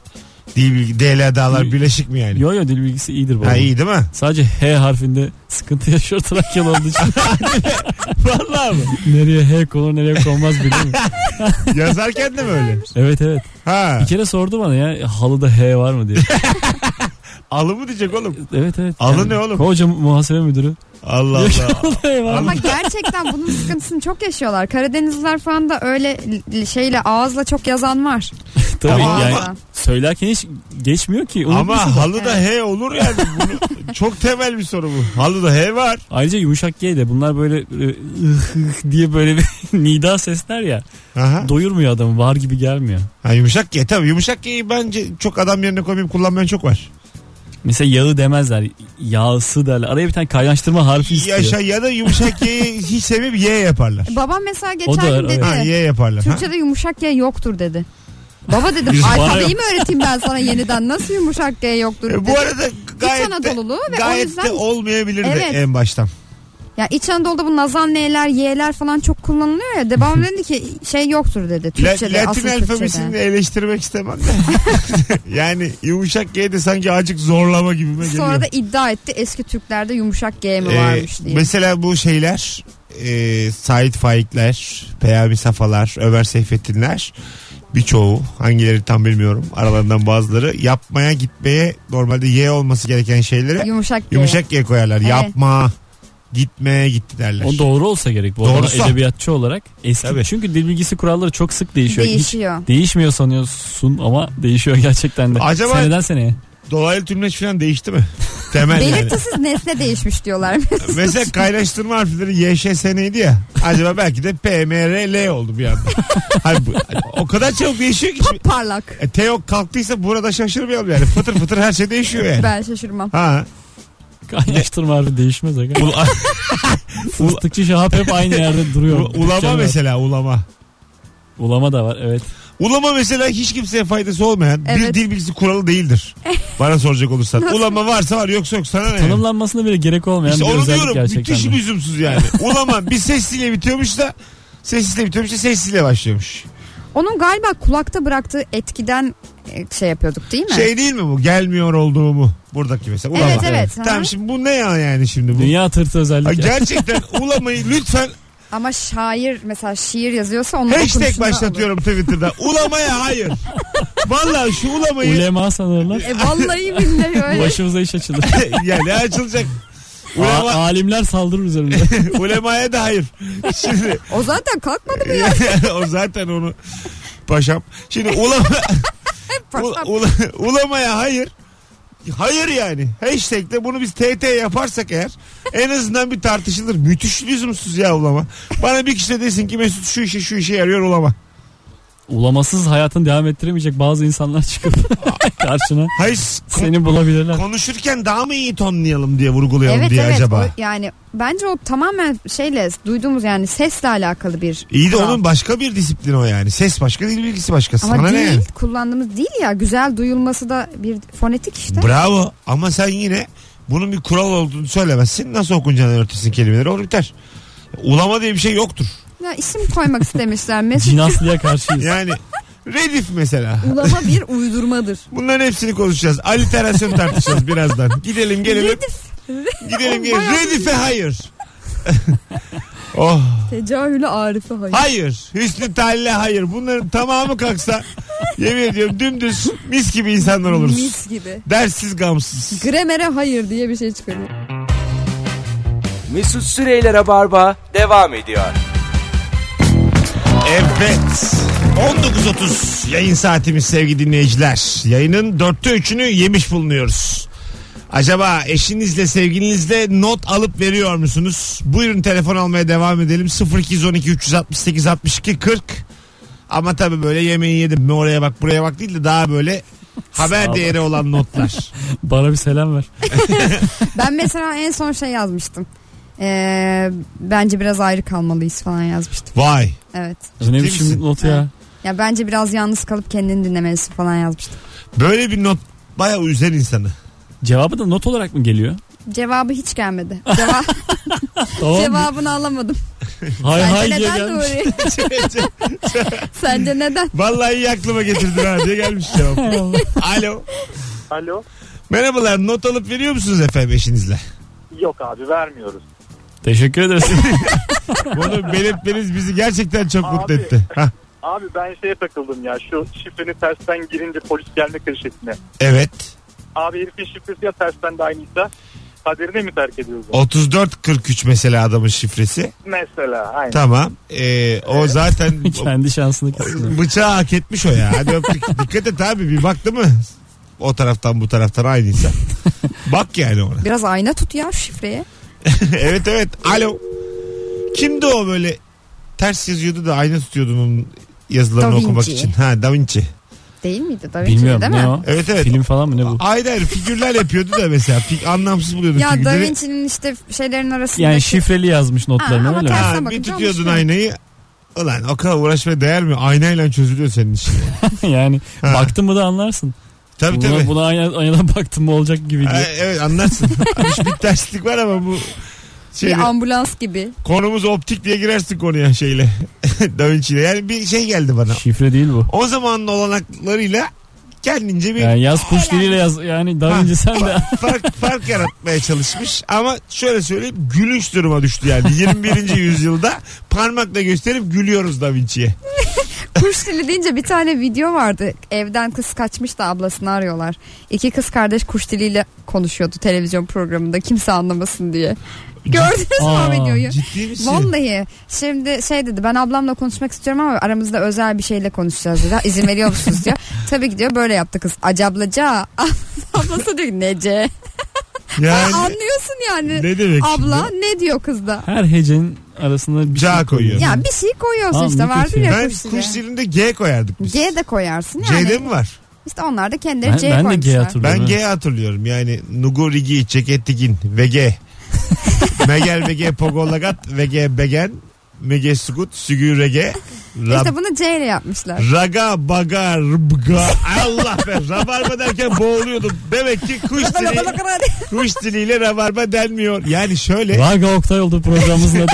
S2: dil bilgi, DL dağlar birleşik mi yani?
S4: Yo yo dil bilgisi iyidir babam.
S2: Ha iyi değil mi?
S4: Sadece H harfinde sıkıntı yaşıyor Trakyalı olduğu için.
S2: Vallahi mi?
S4: nereye H konur nereye konmaz biliyor musun?
S2: Yazarken de mi öyle?
S4: Evet evet.
S2: Ha.
S4: Bir kere sordu bana ya halıda H var mı diye.
S2: Alı mı diyecek oğlum?
S4: Evet evet.
S2: Halı ne oğlum?
S4: Koca muhasebe müdürü.
S2: Allah Allah.
S4: H var mı?
S3: Ama gerçekten bunun sıkıntısını çok yaşıyorlar. Karadenizliler falan da öyle l- şeyle ağızla çok yazan var.
S4: Tabii
S2: Ama-
S4: yani
S3: Ama-
S4: söylerken hiç geçmiyor ki. Unutmuşsun
S2: Ama
S4: da.
S2: halı da he olur yani. Bunu, çok temel bir soru bu. Halı da he var.
S4: Ayrıca yumuşak G de bunlar böyle, böyle ıh, ıh diye böyle bir nida sesler ya.
S2: Aha.
S4: Doyurmuyor adamı var gibi gelmiyor.
S2: Ha, yumuşak ye tabii. Yumuşak yeyi bence çok adam yerine koymayıp kullanmayan çok var.
S4: Mesela yağı demezler. Yağsı derler. Araya bir tane kaynaştırma harfi istiyor.
S2: Yaşa ya da yumuşak yeyi hiç sevip ye yaparlar.
S3: Babam mesela geçen
S4: da-
S3: gün dedi.
S2: Ha ye yaparlar. Ha?
S3: Türkçe'de yumuşak G yoktur dedi. Baba dedim
S4: Biz-
S3: alfabeyi mi öğreteyim ben sana yeniden nasıl yumuşak G yoktur dedi.
S2: E, bu arada gayet de,
S3: Anadolulu ve o
S2: gayet
S3: yüzden-
S2: de olmayabilirdi
S3: Evet.
S2: en baştan.
S3: Ya İç Anadolu'da bu nazan n'ler y'ler falan çok kullanılıyor ya. De babam dedi ki şey yoktur dedi
S2: La-
S3: Türkçe'de
S2: Latin
S3: asıl
S2: alfabesini
S3: Türkçe'de.
S2: eleştirmek istemem de. yani yumuşak ye de sanki acık zorlama gibime geliyor.
S3: Sonra da iddia etti eski Türklerde yumuşak G mi
S2: Ee,
S3: varmış diye.
S2: Mesela bu şeyler e, Sait Faikler, Peyami Safalar, Ömer Seyfettinler birçoğu hangileri tam bilmiyorum aralarından bazıları yapmaya gitmeye normalde Y olması gereken şeylere
S3: yumuşak G.
S2: yumuşak Y koyarlar.
S3: Evet.
S2: Yapma, gitmeye gitti derler.
S4: O doğru olsa gerek bu arada
S2: Doğrusu.
S4: edebiyatçı olarak. Eski.
S2: Tabii.
S4: Çünkü dil bilgisi kuralları çok sık değişiyor.
S3: Değişiyor.
S4: Hiç değişmiyor sanıyorsun ama değişiyor gerçekten de.
S2: Acaba-
S4: Seneden seneye.
S2: Dolaylı tümleç falan değişti mi? Temel yani.
S3: Belirtisiz nesne değişmiş diyorlar.
S2: Mesela kaynaştırma harfleri YŞS neydi ya. Acaba belki de PMRL oldu bir anda. Hayır, bu- o kadar çabuk değişiyor ki.
S3: Pap parlak.
S2: E, Teo kalktıysa burada şaşırmayalım yani. Fıtır fıtır her şey değişiyor yani.
S3: Ben şaşırmam.
S2: Ha.
S4: Kaynaştırma harfi değişmez. aga.
S2: Ul-
S4: Fıstıkçı Şahap hep aynı yerde duruyor.
S2: U- ulama
S4: Dükkanı-
S2: mesela ulama.
S4: Ulama da var evet.
S2: Ulama mesela hiç kimseye faydası olmayan bir
S3: Evet.
S2: dil bilgisi kuralı değildir. Bana soracak olursan. Ulama varsa var yoksa yok sana ne? yani?
S4: Tanımlanmasına bile gerek olmayan
S2: İşte
S4: bir
S2: onu
S4: özellik
S2: diyorum.
S4: gerçekten.
S2: Müthiş şey.
S4: de.
S2: lüzumsuz yani. Ulama bir sesliyle bitiyormuş da sessizle bitiyormuş da sessizle başlıyormuş.
S3: Onun galiba kulakta bıraktığı etkiden e, şey yapıyorduk değil mi?
S2: Şey değil mi bu? Gelmiyor olduğumu. Buradaki mesela ulama.
S3: Evet, evet.
S2: Tamam
S3: Hı.
S2: şimdi bu ne ya yani şimdi bu?
S4: Dünya tırtı
S2: Ha,
S4: özellik. ya.
S2: Gerçekten ulamayı lütfen
S3: Ama şair mesela şiir yazıyorsa onun
S2: hashtag
S3: okunuşunu
S2: başlatıyorum Twitter'da. Ulamaya hayır. Vallahi şu ulamayı
S4: Ulema sanırlar.
S3: alır. E vallahi billahi öyle.
S4: Başımıza iş açılır.
S2: ya ne açılacak?
S4: A-
S2: Ulema,
S4: alimler saldırır üzerimize.
S2: ulemaya da hayır. Şimdi
S3: O zaten kalkmadı mı ya?
S2: o zaten onu paşam. Şimdi ulama,
S3: Paşam.
S2: ula- ula- ulamaya hayır. Hayır yani. Hashtag'de bunu biz TT yaparsak eğer en azından bir tartışılır. Müthiş lüzumsuz ya ulama. Bana bir kişi de desin ki Mesut şu işe şu işe yarıyor ulama.
S4: Ulamasız hayatını devam ettiremeyecek bazı insanlar çıkıp karşına
S2: Hayır s- kon-
S4: seni bulabilirler.
S2: konuşurken daha mı iyi tonlayalım diye vurgulayalım
S3: evet
S2: diye
S3: evet.
S2: acaba.
S3: O yani bence o tamamen şeyle duyduğumuz yani sesle alakalı bir
S2: İyi de
S3: kural.
S2: onun başka bir disiplini o yani. Ses başka dil bilgisi başka.
S3: ama
S2: Sana ne
S3: değil
S2: yani?
S3: kullandığımız değil ya güzel duyulması da bir fonetik işte.
S2: Bravo ama sen yine bunun bir kural olduğunu söylemezsin. Nasıl okunacağını öğretirsin kelimeleri olur biter. Ulama diye bir şey yoktur.
S3: ya isim koymak istemişler. Mesela
S4: Cinaslıya karşıyız.
S2: Yani redif mesela.
S3: ulama bir uydurmadır.
S2: Bunların hepsini konuşacağız. Aliterasyon tartışacağız birazdan. Gidelim gelelim.
S3: Redif.
S2: Gidelim gelelim.
S3: Bayağı
S2: Redife hayır. Oh.
S3: Tecahülü arife hayır.
S2: Hayır. Hüsnü Talle hayır. Bunların tamamı kalksa yemin ediyorum dümdüz mis gibi insanlar oluruz.
S3: Mis gibi.
S2: Dersiz gamsız.
S3: Gremere hayır diye bir şey çıkarıyor.
S1: Mesut Süreyler'e barba devam ediyor.
S2: Evet. 19.30 yayın saatimiz sevgili dinleyiciler. Yayının dörtte üçünü yemiş bulunuyoruz. Acaba eşinizle sevgilinizle not alıp veriyor musunuz? Buyurun telefon almaya devam edelim. 0212 368 62 40. Ama tabii böyle yemeği yedim mi oraya bak buraya bak değil de daha böyle
S4: Sağ
S2: haber
S4: ol.
S2: değeri olan notlar.
S4: Bana bir selam ver.
S3: Ben mesela en son şey yazmıştım. Ee, bence biraz ayrı kalmalıyız falan yazmıştım.
S2: Vay.
S3: Evet.
S4: Bu ne biçim
S2: misin?
S4: not ya.
S3: Ya bence biraz yalnız kalıp kendini dinlemelisin falan yazmıştım.
S2: Böyle bir not bayağı üzer insanı.
S4: Cevabı da not olarak mı geliyor?
S3: Cevabı hiç gelmedi. Ceva-
S4: Tamam.
S3: cevabını alamadım.
S4: Hay
S3: Sence
S4: hay diye
S3: neden
S4: gelmiş.
S3: Nuri? Sence neden?
S2: Vallahi iyi aklıma getirdin ha diye gelmiş cevap. Alo.
S7: Alo.
S2: Merhabalar not alıp veriyor musunuz efendim eşinizle?
S7: Yok abi vermiyoruz.
S4: Teşekkür ederiz.
S2: Bunu belirtmeniz bizi gerçekten çok
S7: Abi.
S2: mutlu etti. Hah,
S7: Abi ben şeye takıldım ya şu şifreni tersten girince polis gelme karışıklığına.
S2: evet.
S7: Abi herifin şifresi ya tersten de aynıysa kaderine mi terk ediyoruz? onu?
S2: 3443 mesela adamın şifresi.
S7: Mesela aynen.
S2: Tamam. Ee, o zaten
S4: Kendi şansını kesin.
S2: bıçağı hak etmiş o ya. Hadi öptük. Dikkat et abi bir baktı mı? O taraftan bu taraftan aynıysa. Bak yani ona.
S3: Biraz ayna tut ya şifreye.
S2: evet evet. Alo. Kimdi o böyle ters yazıyordu da ayna tutuyordun onun yazılarını
S3: Da Vinci.
S2: okumak için. Ha Da Vinci.
S3: Değil miydi? Da Vinci
S4: Bilmiyorum
S3: değil
S4: ne
S3: mi?
S4: o?
S2: Evet evet.
S4: Film falan mı ne bu?
S2: Hayır hayır figürler yapıyordu da mesela. Fik, anlamsız buluyordum
S3: Ya Da
S2: figürleri.
S3: Vinci'nin işte şeylerin arasındaki.
S4: Yani şifreli yazmış
S3: şey- Ha,
S4: notlarını
S3: ama
S4: öyle mi?
S3: ters-
S2: Ha,
S3: Tersine
S2: bir
S3: bakınca
S2: tutuyordun
S3: olmuş mu?
S2: aynayı. Ulan o kadar uğraşmaya değer mi? Aynayla çözülüyor senin işin.
S4: yani
S2: Ha.
S4: baktın mı da anlarsın.
S2: Tabii
S4: buna,
S2: tabii.
S4: buna ayna, aynadan baktın mı olacak gibi
S2: Ha,
S4: diye.
S2: evet anlarsın. Hiç bir terslik var ama bu şey
S3: Bir ambulans gibi.
S2: konumuz optik diye girersin konuya şeyle. da Vinci'yle. Yani bir şey geldi bana.
S4: Şifre değil bu.
S2: O zamanın olanaklarıyla kendince bir
S4: Yani yaz kuş diliyle yaz. Yani daha önce sen de
S2: fark, fark yaratmaya çalışmış ama şöyle söyleyeyim gülünç duruma düştü yani 21. yüzyılda parmakla gösterip gülüyoruz Da Vinci'ye.
S3: Kuş dili deyince bir tane video vardı. Evden kız kaçmış da ablasını arıyorlar. İki kız kardeş kuş diliyle konuşuyordu televizyon programında kimse anlamasın diye. Gördünüz mü
S4: Aa,
S3: o videoyu?
S2: Ciddi misin?
S3: Vallahi şimdi şey dedi ben ablamla konuşmak istiyorum ama aramızda özel bir şeyle konuşacağız dedi. İzin veriyor musunuz diyor. Tabii ki diyor böyle yaptı kız. Acablaca. Ablası diyor ki, nece.
S2: Yani
S3: Anlıyorsun yani.
S2: ne demek
S3: Abla
S2: şimdi?
S3: ne diyor kız da.
S4: her hecenin arasında bir
S2: Ca
S4: şey
S2: koyuyor.
S3: Ya bir şey koyuyorsun
S4: Aa,
S3: işte
S4: ne
S3: vardır
S4: kötü.
S3: ya
S2: Ben
S3: kuş dili.
S2: kuş dilinde G koyardık biz.
S3: G de koyarsın yani.
S2: C'de mi var?
S3: İşte onlar da kendileri
S4: Ben,
S3: C'ye
S4: ben de
S3: koymuşlar.
S4: G hatırlıyorum.
S2: Ben
S4: evet.
S2: G hatırlıyorum. Yani Nugurigi, Çeketigin, VG. Megel VG, Pogolagat, VG Begen, Mege Sugut, Sügü Rege, Rab-
S3: İşte bunu C ile yapmışlar.
S2: Raga baga rbga Allah be rabarba derken boğuluyordum. Demek ki kuş dili, kuş diliyle rabarba denmiyor. Yani şöyle
S4: Varga Oktay oldu programımızın adı.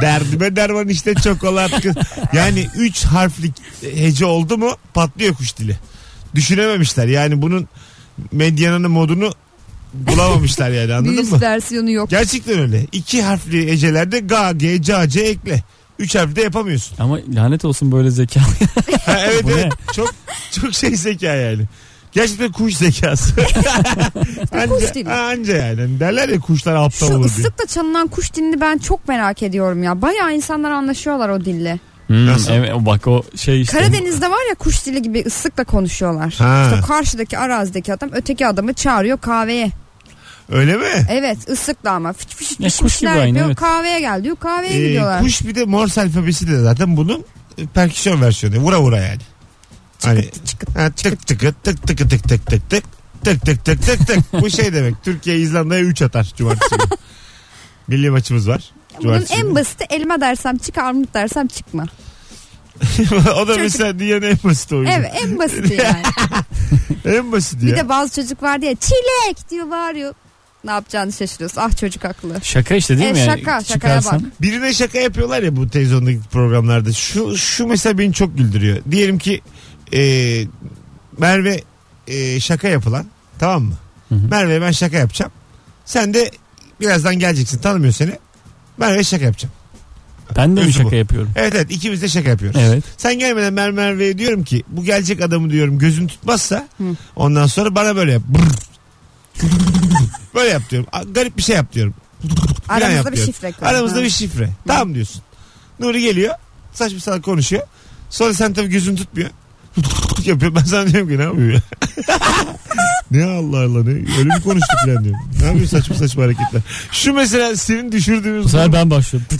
S2: derdime derman işte çokolat kız. Yani 3 harflik hece oldu mu patlıyor kuş dili. Düşünememişler yani bunun medyanın modunu bulamamışlar yani
S3: Bir
S2: anladın
S3: üst
S2: mı?
S3: versiyonu yok.
S2: Gerçekten öyle. 2 harfli hecelerde ga, ge, ca, ce ekle. 3 harfli de yapamıyorsun.
S4: Ama lanet olsun böyle zeka.
S2: Ha, evet
S4: Bu
S2: evet. Çok çok şey zeka yani. Gerçekten kuş zekası. anca,
S3: kuş dili.
S2: anca yani. Derler ya kuşlar aptal
S3: Şu
S2: olur diye.
S3: ıslıkla çalınan kuş dilini ben çok merak ediyorum ya. Bayağı insanlar anlaşıyorlar o dille.
S4: Hmm,
S2: Nasıl?
S4: evet, bak o şey işte.
S3: Karadeniz'de var ya kuş dili gibi ıslıkla konuşuyorlar.
S2: Ha.
S3: İşte karşıdaki arazideki adam öteki adamı çağırıyor kahveye.
S2: Öyle mi?
S3: Evet ıslıkla ama fış fış fış
S4: Ya kuş
S3: bir şeyler
S4: gibi aynı,
S3: yapıyor.
S4: evet.
S3: Kahveye gel diyor kahveye
S2: Ee,
S3: gidiyorlar.
S2: kuş bir de Morse alfabesi de zaten bunun e, perküsyon versiyonu. Vura vura yani. Hani ha, tık tıkı tık tıkı tık tık tık tık tık tık tık tık tık. Bu şey demek. Türkiye İzlanda'ya 3 atar cumartesi günü. Milli maçımız var.
S3: Bunun
S2: Cumartesi
S3: en
S2: günü.
S3: basiti elma dersem çık armut dersem çıkma.
S2: o da mesela dünyanın en basit oyunu.
S3: Evet en basiti yani.
S2: En basit ya.
S3: Bir de bazı çocuk var diye çilek diyor bağırıyor. Ne yapacağını şaşırıyorsun. Ah çocuk haklı.
S4: Şaka işte değil
S3: E,
S4: mi? Yani
S3: şaka, şakaya
S4: çıkarsan.
S3: bak.
S2: Birine şaka yapıyorlar ya bu televizyondaki programlarda. Şu şu mesela beni çok güldürüyor. Diyelim ki e, Merve e, şaka yapılan tamam mı?
S4: Hı hı.
S2: Merve ben şaka yapacağım. Sen de birazdan geleceksin tanımıyor seni. Merve şaka yapacağım.
S4: Ben de mi
S2: Üzü bu.
S4: şaka yapıyorum?
S2: Evet evet ikimiz de şaka yapıyoruz.
S4: Evet.
S2: Sen gelmeden ben Merve'ye diyorum ki bu gelecek adamı diyorum gözün tutmazsa ondan sonra bana böyle yap. Brr. böyle yap diyorum. A- Garip bir şey yap diyorum. Falan
S3: Aramızda
S2: yap
S3: bir
S2: diyorum.
S3: şifre koy.
S2: Aramızda
S3: Ha.
S2: bir şifre. Tamam diyorsun. Nuri geliyor. Saçma salak konuşuyor. Sonra sen tabii gözün tutmuyor. yapıyor. Ben sana diyorum ki ne yapıyor ya? ne Allah Allah ne? Öyle mi konuştuk lan diyorum. Ne yapıyor saçma saçma hareketler. Şu mesela senin düşürdüğümüz...
S4: Bu sefer ben başlıyorum.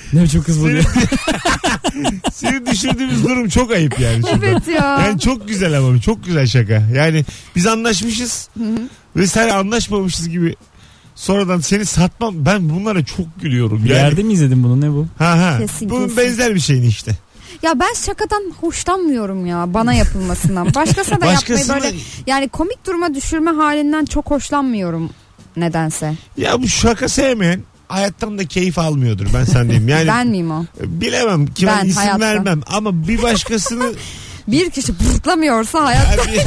S4: ne biçim kız bu diye.
S2: Seni düşürdüğümüz durum çok ayıp yani. şurada.
S3: Evet ya.
S2: Yani çok güzel ama çok güzel şaka. Yani biz anlaşmışız ve sen anlaşmamışız gibi sonradan seni satmam. Ben bunlara çok gülüyorum.
S4: Bir
S2: Yani,
S4: yerde mi izledin bunu ne bu?
S2: ha ha.
S3: Kesin,
S2: Bunun
S3: kesin.
S2: benzer bir şeyin işte.
S3: Ya ben şakadan hoşlanmıyorum ya bana yapılmasından. Başkasına da
S2: Başkasına-
S3: yapmayı böyle yani komik duruma düşürme halinden çok hoşlanmıyorum nedense.
S2: Ya bu şaka sevmeyen hayattan da keyif almıyordur ben sen diyeyim. Yani
S3: ben miyim o?
S2: bilemem kime
S3: Ben
S2: isim
S3: hayatta.
S2: vermem ama bir başkasını
S3: Bir kişi pırtlamıyorsa hayat
S2: Yani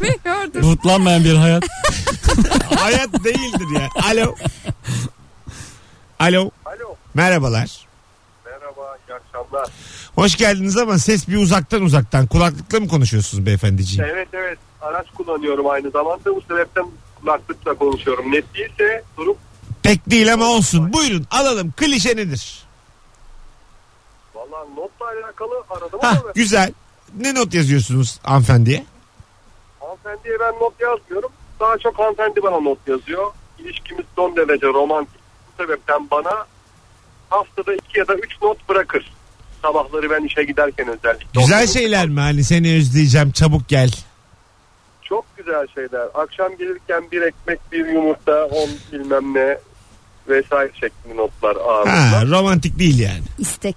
S3: gördüm.
S4: Rutlanmayan bir hayat.
S2: hayat değildir ya. Alo. Alo.
S7: Alo.
S2: Merhabalar.
S7: Merhaba, iyi akşamlar.
S2: Hoş geldiniz ama ses bir uzaktan uzaktan. Kulaklıkla mı konuşuyorsunuz beyefendiciğim?
S7: Evet evet, araç kullanıyorum aynı zamanda. Bu sebepten kulaklıkla konuşuyorum. Net değilse durup
S2: Pek değil ama olsun. Buyurun alalım. Klişe nedir?
S7: valla notla alakalı aradım
S2: Hah,
S7: ama
S2: güzel. Ne not yazıyorsunuz hanımefendiye?
S7: hanımefendiye ben not yazmıyorum. Daha çok hanımefendi bana not yazıyor. İlişkimiz son derece romantik. Bu sebepten bana haftada iki ya da üç not bırakır. Sabahları ben işe giderken özellikle.
S2: Güzel
S7: Onların-
S2: şeyler mi? Hani seni özleyeceğim çabuk gel.
S7: Çok güzel şeyler. Akşam gelirken bir ekmek, bir yumurta, on bilmem ne vesaire şeklinde notlar
S2: Ha,
S7: ağırlıkla.
S2: romantik değil yani.
S3: İstek.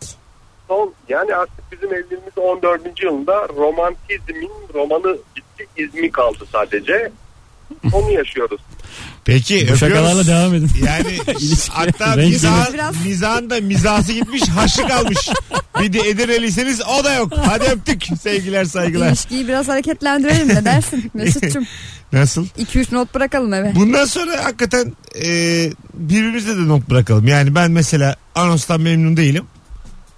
S7: Son, yani artık bizim evliliğimiz 14. yılında romantizmin romanı gitti, izmi kaldı sadece. Onu yaşıyoruz.
S2: Peki
S4: Bu şakalarla
S2: öpüyoruz.
S4: devam edin.
S2: Yani hatta
S4: Renk
S2: mizah,
S3: biraz-
S2: mizahın da mizası gitmiş haşı kalmış. Bir de Edirneliyseniz o da yok. Hadi öptük sevgiler saygılar.
S3: İlişkiyi biraz hareketlendirelim ne dersin Mesut'cum?
S2: Nasıl?
S3: 2-3 not bırakalım eve.
S2: Bundan sonra hakikaten e, birbirimize de not bırakalım. Yani ben mesela anonstan memnun değilim.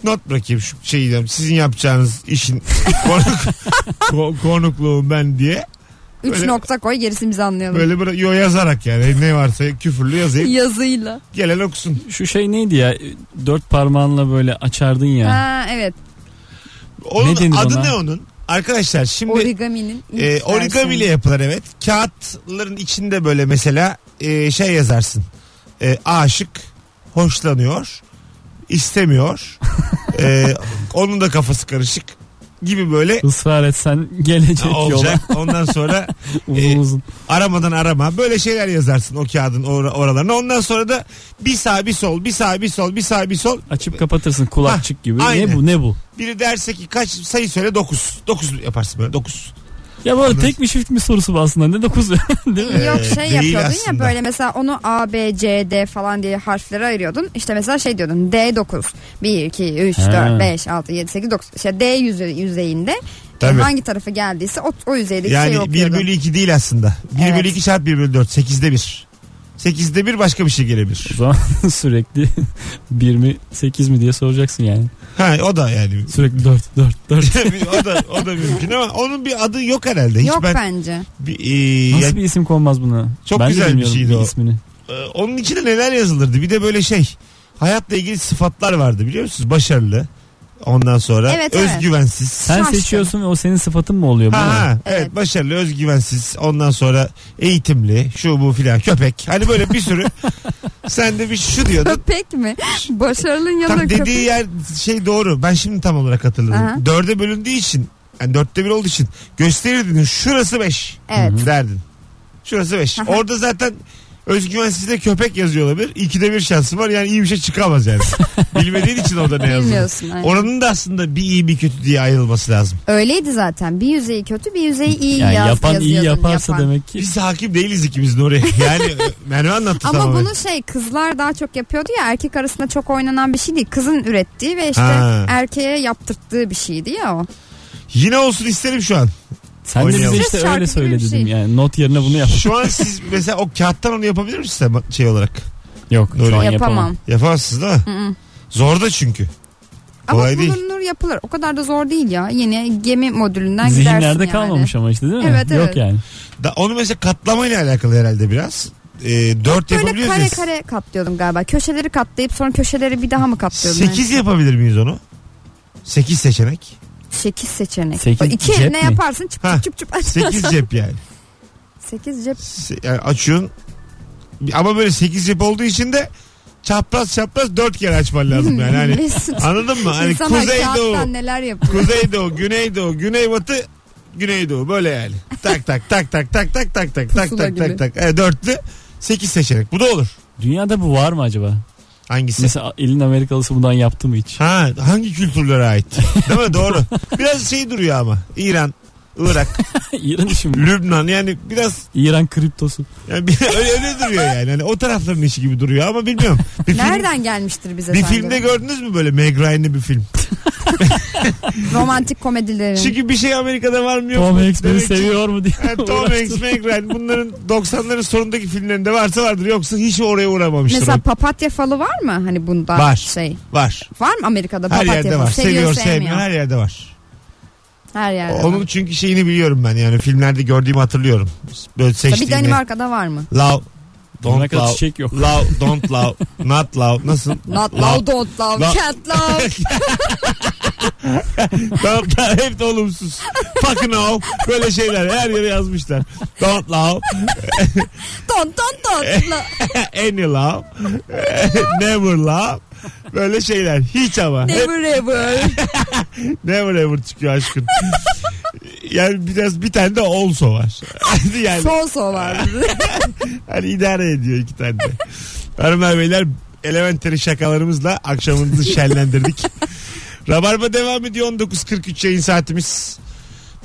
S2: Not bırakayım şu şeyi diyorum. Sizin yapacağınız işin konuk, ko- konukluğum ben diye.
S3: 3
S2: böyle-
S3: nokta koy gerisini biz anlayalım.
S2: Böyle bıra- yo yazarak yani ne varsa küfürlü yazayım.
S3: Yazıyla.
S2: Gelen okusun.
S4: Şu şey neydi ya? Dört parmağınla böyle açardın ya.
S3: Ha evet.
S2: Onun
S4: Ne denir
S2: adı
S4: ona?
S2: ne onun? Arkadaşlar şimdi
S3: Origami'nin. ilk
S2: e, origami ile
S3: versiyonu.
S2: yapılır evet. Kağıtların içinde böyle mesela e, şey yazarsın. E, aşık, hoşlanıyor, istemiyor. E, onun da kafası karışık gibi böyle
S4: Israr etsen gelecek yola.
S2: olacak. Ondan sonra
S4: Uzun
S2: E,
S4: uzun.
S2: aramadan arama. Böyle şeyler yazarsın o kağıdın or- oralarına. Ondan sonra da bir sağ bir sol, bir sağ bir sol, bir sağ bir sol.
S4: Açıp kapatırsın kulakçık gibi.
S2: aynen.
S4: Ne bu ne bu?
S2: Biri derse ki kaç sayı söyle 9. 9 yaparsın böyle 9.
S4: Ya bu arada tek mi çift mi sorusu bu aslında. Ne dokuz değil mi?
S2: Ee,
S3: Yok şey
S2: değil
S3: yapıyordun
S2: aslında.
S3: ya böyle mesela onu A, B, C, D falan diye harflere ayırıyordun. İşte mesela şey diyordun D9. 1, 2, 3,
S4: Ha.
S3: 4, 5, 6, 7, 8, 9. İşte D yüze- yüzeyinde e,
S2: Tabii.
S3: hangi tarafı geldiyse o, o yüzeydeki
S2: Yani
S3: şeyi
S2: 1
S3: okuyordun.
S2: bölü 2 değil aslında. 1
S3: şey Evet.
S2: bölü 2 çarpı 1 bölü 4. 8'de 1. 8'de 1 başka bir şey
S4: O
S2: gelebilir.
S4: zaman sürekli bir mi sekiz mi diye soracaksın yani.
S2: Ha o da yani.
S4: Sürekli dört dört dört.
S2: o da o da mümkün ama onun bir adı yok herhalde. Hiç
S3: Yok
S2: ben,
S3: bence.
S2: bir, e,
S4: Nasıl
S2: ya-
S4: bir isim konmaz buna?
S2: Çok
S4: ben de
S2: güzel bir
S4: bilmiyorum
S2: şeydi o.
S4: ismini.
S2: e, onun içinde neler yazılırdı? Bir de böyle şey. Hayatla ilgili sıfatlar vardı biliyor musunuz? Başarılı. Ondan sonra
S3: Evet, evet.
S2: özgüvensiz.
S4: Sen
S3: Şaşkın.
S4: seçiyorsun ve o senin sıfatın mı oluyor?
S2: Ha,
S4: Bu ne?
S2: ha, evet.
S3: Evet.
S2: başarılı, özgüvensiz. Ondan sonra eğitimli, şu bu filan köpek. Hani böyle bir sürü. sen de bir şu diyordun.
S3: Köpek mi? Başarılı ya da
S2: Tam
S3: köpek.
S2: dediği yer şey doğru. Ben şimdi tam olarak hatırladım.
S3: Aha.
S2: Dörde bölündüğü için, yani dörtte bir olduğu için gösterirdin. Şurası beş
S3: Evet.
S2: derdin. Şurası beş.
S3: Aha.
S2: Orada zaten özgüvensizde köpek yazıyor olabilir. İkide bir şansın var yani iyi bir şey çıkamaz yani. Bilmediğin için orada ne yazıyor.
S3: Bilmiyorsun. aynen.
S2: Oranın da aslında bir iyi bir kötü diye ayrılması lazım.
S3: Öyleydi zaten. Bir yüzeyi kötü bir yüzeyi iyi
S4: Yani
S3: yaz,
S4: yapan iyi
S3: yazıyordun,
S4: yaparsa
S3: yapan.
S4: demek ki.
S2: Biz hakim değiliz ikimiz Nuri. Yani e, Merve anlattı
S3: Ama
S2: tamamen.
S3: bunu şey kızlar daha çok yapıyordu ya erkek arasında çok oynanan bir şey değil. Kızın ürettiği ve işte
S2: Ha.
S3: erkeğe yaptırttığı bir şeydi ya o.
S2: Yine olsun isterim şu an.
S4: Sen de bize
S2: Oynayalım.
S4: işte
S3: Şarkı
S4: öyle
S3: gibi
S4: söyle
S3: bir şey.
S4: dedim yani. Not yerine bunu yap.
S2: Şu an siz mesela o kağıttan onu yapabilir misiniz sen şey olarak?
S4: Yok
S2: Nuri.
S4: şu an
S3: yapamam.
S4: yapamam.
S2: Yapamazsınız değil mi? Zor da çünkü.
S3: Ama
S2: Kolay değil.
S3: bulunur yapılır. O kadar da zor değil ya. Yeni gemi modülünden gidersin
S4: Zihinlerde
S3: yani.
S4: kalmamış ama işte değil mi?
S3: Evet,
S4: Yok
S3: evet.
S4: yani.
S2: Da, onu mesela katlamayla alakalı herhalde biraz. E, 4
S3: Böyle
S2: yapabiliriz.
S3: kare kare katlıyordum galiba. Köşeleri katlayıp sonra köşeleri bir daha mı katlıyordum?
S2: 8 yapabilir miyiz onu? 8 seçenek.
S3: 8 seçenek.
S4: Sekiz
S3: O iki
S4: cep
S3: ne
S4: mi?
S3: yaparsın? Çıp
S2: Ha.
S3: çıp çıp çıp.
S2: 8 cep yani.
S3: 8 cep.
S2: Se- yani açıyorsun. Ama böyle 8 cep olduğu için de çapraz çapraz 4 kere açman lazım yani. Hani,
S3: Mesut.
S2: anladın mı? Hani
S3: İnsanlar
S2: Kuzeydoğu,
S3: kağıttan neler yapıyor.
S2: Kuzeydoğu, Güneydoğu, Güneybatı, Güneydoğu böyle yani. Tak tak tak tak tak tak tak tak tak
S3: Pusula
S2: tak
S3: gibi.
S2: tak tak. E, dörtlü 8 seçenek. Bu da olur.
S4: Dünyada bu var mı acaba?
S2: Hangisi?
S4: Mesela elin Amerikalısı bundan yaptı mı hiç?
S2: Ha hangi kültürlere ait? Değil mi? Doğru. Biraz şey duruyor ama. İran, Irak,
S4: İran işi mi?
S2: Lübnan yani biraz
S4: İran kriptosu.
S2: yani bir- öyle, öyle duruyor yani. Hani o tarafların işi gibi duruyor ama bilmiyorum. Bir film-
S3: Nereden gelmiştir bize
S2: Bir
S3: sence?
S2: filmde gördünüz mü böyle Meg Ryan'lı bir film?
S3: Romantik komedilerin.
S2: Çünkü bir şey Amerika'da var mı yok
S4: Tom
S2: mu?
S4: Hanks beni
S2: Demek ki-
S4: seviyor mu diye.
S2: Ha, Tom Hanks, Meg Ryan bunların 90'ların sonundaki filmlerinde varsa vardır. Yoksa hiç oraya uğramamıştır.
S3: Mesela
S2: o.
S3: papatya falı var mı? Hani bunda
S2: Var.
S3: şey.
S2: Var.
S3: Var mı Amerika'da
S2: Her
S3: papatya
S2: yerde
S3: falı?
S2: var.
S3: Seviyor,
S2: Seviyor,
S3: sevmiyor.
S2: sevmiyor. Her yerde var.
S3: Her yerde
S2: Onun
S3: var.
S2: çünkü şeyini biliyorum ben yani filmlerde gördüğümü hatırlıyorum. Böyle
S3: Tabii hani
S2: seçtiğini.
S3: Danimarka'da var mı?
S2: Love,
S4: Ona
S2: don't
S4: kadar
S2: love,
S4: çiçek yok.
S2: love, don't love, not love. Nasıl?
S3: Not love, don't love,
S2: La-
S3: can't love.
S2: Don't love hep de olumsuz. Fucking love. Böyle şeyler her yere yazmışlar. Don't love,
S3: don't, don't, don't love.
S2: any love, never love. Böyle şeyler. Hiç ama. Hep
S3: Never ever.
S2: Never ever çıkıyor aşkın. yani biraz bir tane de also var. yani
S3: So so var.
S2: hani idare ediyor iki tane de. Hanımlar beyler elementary şakalarımızla akşamımızı şenlendirdik. Rabarba devam ediyor 19.43 yayın saatimiz.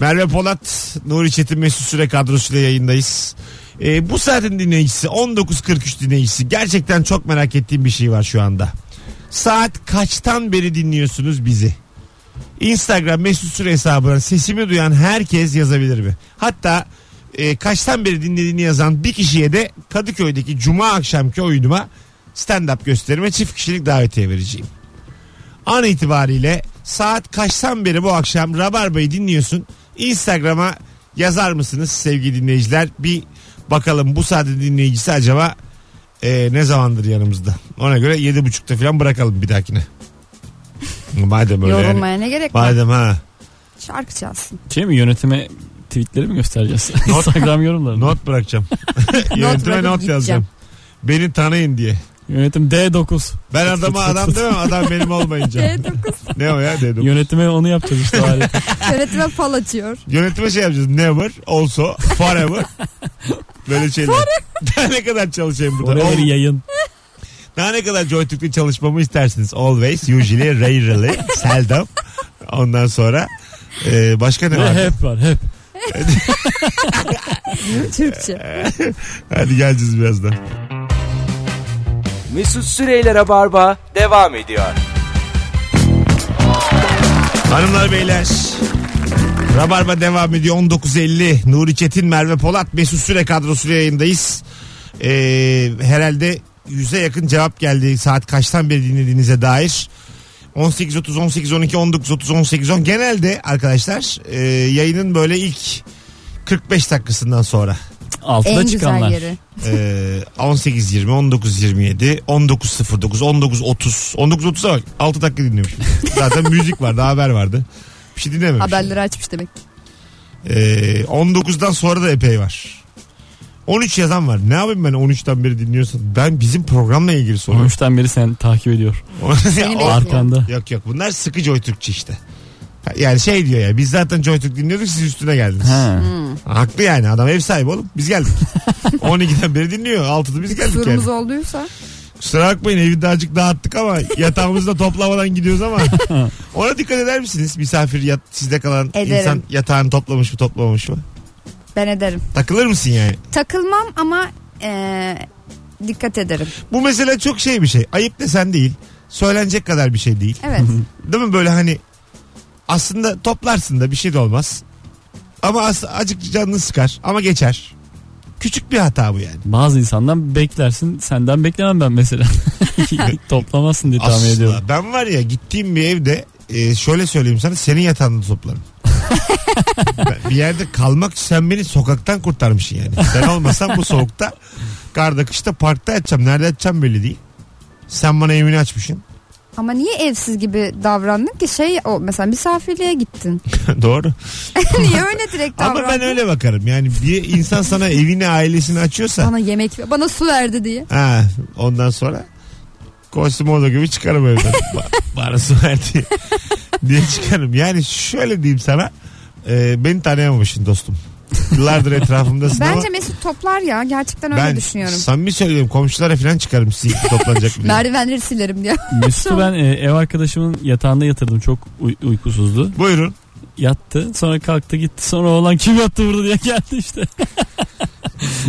S2: Merve Polat, Nuri Çetin Mesut Süre kadrosuyla yayındayız. Ee, bu saatin dinleyicisi 19.43 dinleyicisi gerçekten çok merak ettiğim bir şey var şu anda. Saat kaçtan beri dinliyorsunuz bizi? Instagram mesut süre hesabına sesimi duyan herkes yazabilir mi? Hatta e, kaçtan beri dinlediğini yazan bir kişiye de Kadıköy'deki cuma akşamki oyunuma stand-up gösterime çift kişilik davetiye vereceğim. An itibariyle saat kaçtan beri bu akşam Rabarba'yı dinliyorsun. Instagram'a yazar mısınız sevgili dinleyiciler? Bir bakalım bu saatin dinleyicisi acaba e, ne zamandır yanımızda? Ona göre yedi buçukta falan bırakalım bir dahakine. Madem öyle yani.
S3: Yorulmaya ne gerek var?
S2: Madem ha.
S3: Şarkı çalsın.
S4: Şey mi yönetime tweetleri mi göstereceğiz? Instagram yorumları.
S2: Not bırakacağım. Yönetime
S3: bırakıp
S2: not yazacağım.
S3: gideceğim.
S2: Beni tanıyın diye.
S4: Yönetim D9.
S2: Ben adama adam demem adam benim olmayınca.
S3: D9.
S2: ne o ya dedim.
S4: Yönetime onu yapacağız işte. o aleti.
S3: Yönetime fal açıyor.
S2: Yönetime şey yapacağız. Never, also, forever. Böyle şeyler. Daha ne kadar çalışayım burada?
S4: Oraya bir
S2: Ol-
S4: yayın.
S2: Daha ne kadar joytürkle çalışmamı istersiniz? Always, usually, rarely, seldom. Ondan sonra e, başka ne
S4: Ve
S2: var?
S4: hep var hep.
S3: Türkçe.
S2: Hadi geleceğiz birazdan.
S1: Mesut Süreyler'e barba devam ediyor.
S2: Hanımlar beyler. Rabarba devam ediyor 19.50 Nuri Çetin, Merve Polat, Mesut Süre kadrosuyla yayındayız. Ee, herhalde yüze yakın cevap geldi saat kaçtan beri dinlediğinize dair. 18.30, 18.12, 19.30, 18.10 genelde arkadaşlar e, yayının böyle ilk 45 dakikasından sonra
S4: Altıda
S3: en
S4: çıkanlar.
S3: güzel yeri.
S2: ee, 18.20, 19.27, 19.09, 19.30. 19.30'a bak 6 dakika dinliyormuşum. Zaten müzik vardı, haber vardı. Bir şey dinlememişim.
S3: Haberleri açmış demek.
S2: Ee, 19'dan sonra da epey var. 13 yazan var. Ne yapayım ben 13'ten beri dinliyorsun? Ben bizim programla ilgili soruyorum.
S4: 13'ten beri sen takip ediyor.
S3: Seni
S2: O-
S3: bekliyor.
S4: Arkanda.
S2: yok yok bunlar sıkı Joytürkçü işte. Yani şey diyor ya biz zaten Joytürk dinliyorduk siz üstüne geldiniz.
S4: Ha.
S3: Hmm.
S2: Haklı yani adam ev sahibi oğlum biz geldik. 12'den beri dinliyor 6'da biz geldik yani.
S3: Kusurumuz olduysa.
S2: Kusura bakmayın evi birazcık dağıttık ama yatağımızı da toplamadan gidiyoruz ama. Ona dikkat eder misiniz? Misafir yat, sizde kalan
S3: Ederim.
S2: insan yatağını toplamış mı toplamamış mı?
S3: Ben ederim.
S2: Takılır mısın yani?
S3: Takılmam ama eee, dikkat ederim.
S2: Bu mesela çok şey bir şey. Ayıp desen değil. Söylenecek kadar bir şey değil.
S3: Evet.
S2: Değil mi böyle hani aslında toplarsın da bir şey de olmaz. Ama as- acık canını sıkar ama geçer. Küçük bir hata bu yani.
S4: Bazı insandan beklersin senden beklemem ben mesela. Toplamazsın diye tahmin ediyorum.
S2: Asla. Ben var ya gittiğim bir evde e, şöyle söyleyeyim sana senin yatağında toplarım. Ben bir yerde kalmak sen beni sokaktan kurtarmışsın yani. Sen olmasan bu soğukta karda kışta parkta yatacağım. Nerede yatacağım belli değil. Sen bana evini açmışsın.
S3: Ama niye evsiz gibi davrandın ki şey o mesela misafirliğe gittin.
S2: Doğru.
S3: niye öyle direkt davrandın?
S2: Ama ben öyle bakarım. Yani bir insan sana evini ailesini açıyorsa
S3: Bana yemek bana su verdi diye.
S2: ha, ondan sonra Cosimodo gibi çıkarım evden. Ba- Bana su ver diye, diye çıkarım. Yani şöyle diyeyim sana. E, beni tanıyamamışsın dostum. Yıllardır etrafımdasın ama
S3: Bence Mesut toplar ya gerçekten öyle
S2: ben
S3: düşünüyorum.
S2: samimi söylüyorum komşulara falan çıkarım sizi toplanacak mı diye.
S3: Merdivenleri silerim diye.
S4: Mesut'u ben e, ev arkadaşımın yatağında yatırdım. Çok uy- uykusuzdu.
S2: Buyurun.
S4: Yattı. Sonra kalktı gitti. Sonra oğlan kim yattı burada diye geldi işte.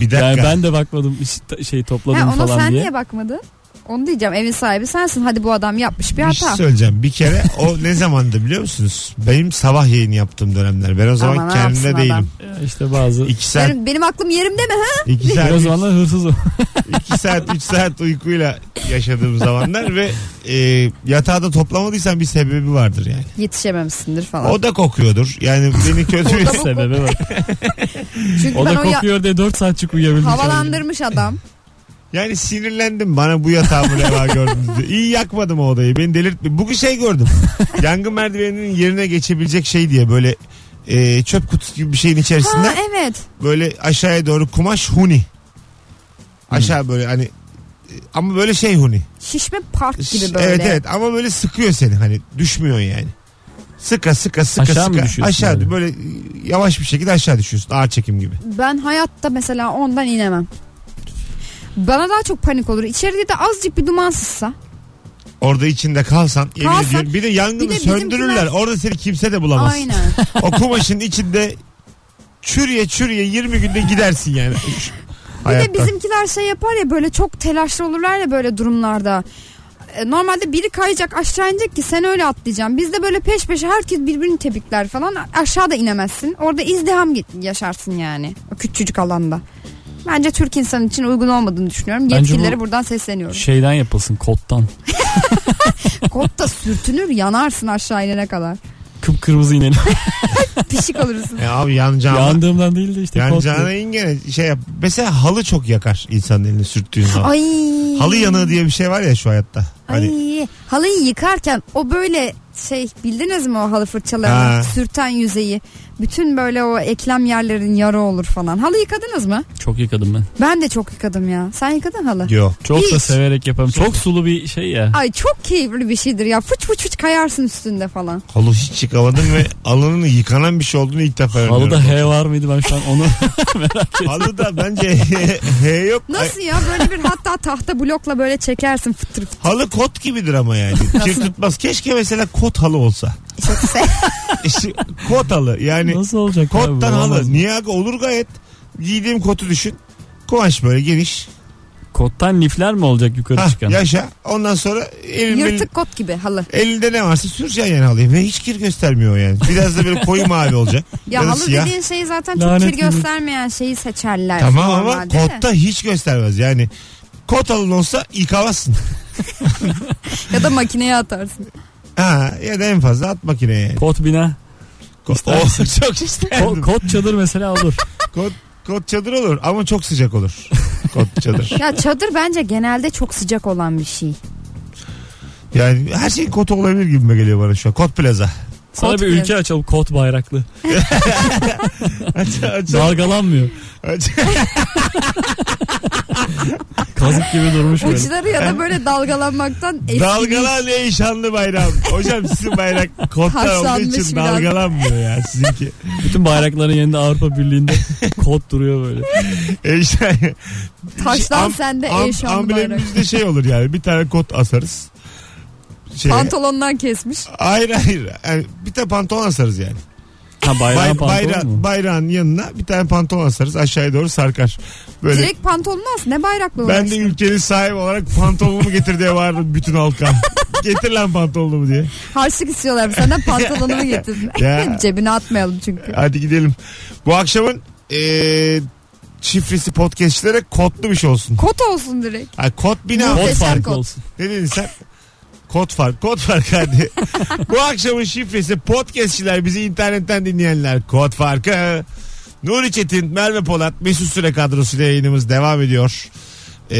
S2: Bir dakika.
S4: Yani ben de bakmadım hiç ta- şey topladım
S3: Ha, ona
S4: falan
S3: sen
S4: diye.
S3: niye bakmadın? Onu diyeceğim evin sahibi sensin. Hadi bu adam yapmış bir
S2: Bir şey
S3: hata.
S2: söyleyeceğim. Bir kere o ne zamandı biliyor musunuz? Benim sabah yayın yaptığım dönemler. Ben o zaman
S3: Aman, ne
S2: kendimde
S3: yapsın adam?
S2: değilim.
S4: Ya İşte bazı.
S2: İki saat,
S3: Benim, benim aklım yerimde mi? Ha?
S2: iki saat,
S4: Biraz o zamanlar hırsız o.
S2: 2 saat 3 saat uykuyla yaşadığım zamanlar ve e, yatağda toplamadıysan bir sebebi vardır yani.
S3: Yetişememişsindir falan.
S2: O da kokuyordur. Yani beni kötü bir
S4: Sebebi var.
S3: Çünkü
S4: O
S3: ben
S4: da
S3: o ya-
S4: kokuyor diye 4 saatçik uyuyabildim.
S3: havalandırmış adam.
S2: Yani sinirlendim bana bu yatağımı reva gördünüz diye. İyi yakmadım o odayı. Beni delirtme. Bugün şey gördüm. Yangın merdiveninin yerine geçebilecek şey diye böyle e, çöp kutusu gibi bir şeyin içerisinde
S3: Ha evet.
S2: böyle aşağıya doğru kumaş huni. Aşağı böyle hani e, ama böyle şey huni.
S3: Şişme park gibi böyle.
S2: Evet evet ama böyle sıkıyor seni hani düşmüyorsun yani. Sıka sıka sıka
S4: Aşağı mı
S2: sıka
S4: düşüyorsun
S2: aşağı
S4: yani?
S2: böyle e, yavaş bir şekilde aşağı düşüyorsun ağır çekim gibi.
S3: Ben hayatta mesela ondan inemem. Bana daha çok panik olur. İçeride de azıcık bir duman sızsa.
S2: Orada içinde kalsan, yemin
S3: Kalsak,
S2: ediyorum bir de yangını
S3: bir de bizimkiler-
S2: söndürürler. Orada seni kimse de bulamaz.
S3: Aynen.
S2: O kumaşın içinde çürüye çürüye 20 günde gidersin yani.
S3: Bir de
S2: Hayatta.
S3: bizimkiler şey yapar ya böyle çok telaşlı olurlar ya böyle durumlarda. E, Normalde biri kayacak aşağı inecek ki sen öyle atlayacaksın. Bizde böyle peş peşe herkes birbirini tepikler falan. Aşağıda inemezsin. Orada izdiham ge- yaşarsın yani. O küçücük alanda. Bence Türk insanı için uygun olmadığını düşünüyorum.
S4: Bence
S3: Yetkililere
S4: bu-
S3: buradan sesleniyorum.
S4: Şeyden yapılsın kottan.
S3: Kot da sürtünür yanarsın aşağı inene kadar.
S4: Kıpkırmızı inelim.
S3: Pişik olursun.
S2: Ya E abi yanacağına,
S4: Yandığımdan değil de işte
S2: yanacağına
S4: kot.
S2: in gene şey yap. Mesela halı çok yakar insanın elini sürttüğün zaman.
S3: Ay.
S2: Halı yanığı diye bir şey var ya şu hayatta. Hani
S3: Ay, halıyı yıkarken o böyle şey bildiniz mi o halı fırçalarını
S2: Ha.
S3: sürten yüzeyi bütün böyle o eklem yerlerin yara olur falan. Halı yıkadınız mı?
S4: Çok yıkadım ben.
S3: Ben de çok yıkadım ya. Sen yıkadın halı.
S2: Yo.
S4: Çok da
S3: Hiç.
S4: severek yaparım. Çok sulu bir şey ya.
S3: Ay çok keyifli bir şeydir ya. Fıç fıç fıç kayarsın üstünde falan.
S2: Halı hiç yıkamadım ve alının yıkanan bir şey olduğunu ilk defa öğreniyorum.
S4: Halıda H var mıydı ben şu an onu
S2: Halıda bence he yok. Ay,
S3: Nasıl ya böyle bir hatta tahta blokla böyle çekersin fıtır fıtır.
S2: halı kot gibidir ama yani. Kir tutmaz. Keşke mesela kot halı olsa.
S3: Çok se-
S2: İşte kot halı yani.
S4: nasıl olacak? abi?
S2: Hani Kottan
S4: Olamaz
S2: halı.
S4: mı?
S2: Niye aga? olur gayet. Giydiğim kotu düşün. Kumaş böyle geniş.
S4: Kottan lifler mi olacak yukarı
S2: Hah,
S4: çıkan?
S2: yaşa. Ondan sonra elin belin-
S3: Yırtık kot gibi halı.
S2: elinde ne varsa süreceksin yani halıyı. Ve hiç kir göstermiyor yani. Biraz da böyle koyu mavi olacak.
S3: Ya
S2: da
S3: halı
S2: siyah.
S3: dediğin şeyi zaten çok
S4: Lanet
S3: kir
S4: gibi.
S3: göstermeyen şeyi seçerler.
S2: Tamam ama
S3: normalde de.
S2: kotta hiç göstermez. Yani kot alın olsa yıkamazsın.
S3: Ya da makineye atarsın.
S2: Ha, ya da en fazla at makineye yani.
S4: Kot bina.
S2: Ko-
S4: İster
S2: Oh,
S4: misin?
S2: çok isterdim.
S4: Ko- kot çadır mesela olur.
S2: Kot, kot çadır olur ama çok sıcak olur. Kot çadır.
S3: Ya çadır bence genelde çok sıcak olan bir şey.
S2: Yani her şey kot olabilir gibi geliyor bana şu an. Kot plaza.
S4: Sana
S3: Kot
S4: bir
S3: bina.
S4: ülke açalım kot bayraklı.
S2: Aç, aç,
S4: Dalgalanmıyor.
S2: aç.
S4: Kazık gibi durmuş böyle.
S3: Uçları ya da böyle dalgalanmaktan eski
S2: Dalgalan ey şanlı bayram. Hocam sizin bayrak kottan olduğu
S3: Haşlanmış
S2: için
S3: biraz.
S2: dalgalanmıyor ya sizinki.
S4: Bütün bayrakların yanında Avrupa Birliği'nde kot duruyor böyle.
S2: E işte-
S3: Taştan
S2: Şey, Am-
S3: sende
S2: am-
S3: ey şanlı bayrak.
S2: Amblemimizde şey olur yani bir tane kot asarız. Şey,
S3: Pantolondan kesmiş.
S2: hayır hayır. Yani bir tane pantolon asarız yani.
S4: Ha bayrağın
S2: Bay,
S4: pantolon
S2: bayra-
S4: mu?
S2: bayrağın yanına bir tane pantolon asarız aşağıya doğru sarkar. Böyle
S3: Direkt pantolonun as ne bayraklı
S2: ben
S3: uğraştın?
S2: de ülkenin sahibi olarak pantolonumu getir diye bağırdım bütün halka. getir lan pantolonumu diye.
S3: Harçlık istiyorlar senden pantolonumu getir.
S2: Ya.
S3: Cebine atmayalım çünkü.
S2: Hadi gidelim. Bu akşamın e, şifresi podcastlere kodlu bir şey olsun.
S3: Kot olsun direkt.
S2: Ha, kod bina.
S4: Kod
S3: Muhteşem
S4: farkı
S3: kod.
S4: olsun.
S2: Ne dedin sen? Kod fark, kod fark hadi. Bu akşamın şifresi podcastçiler bizi internetten dinleyenler. Kod farkı. Nuri Çetin, Merve Polat, Mesut Süre kadrosuyla yayınımız devam ediyor. Ee,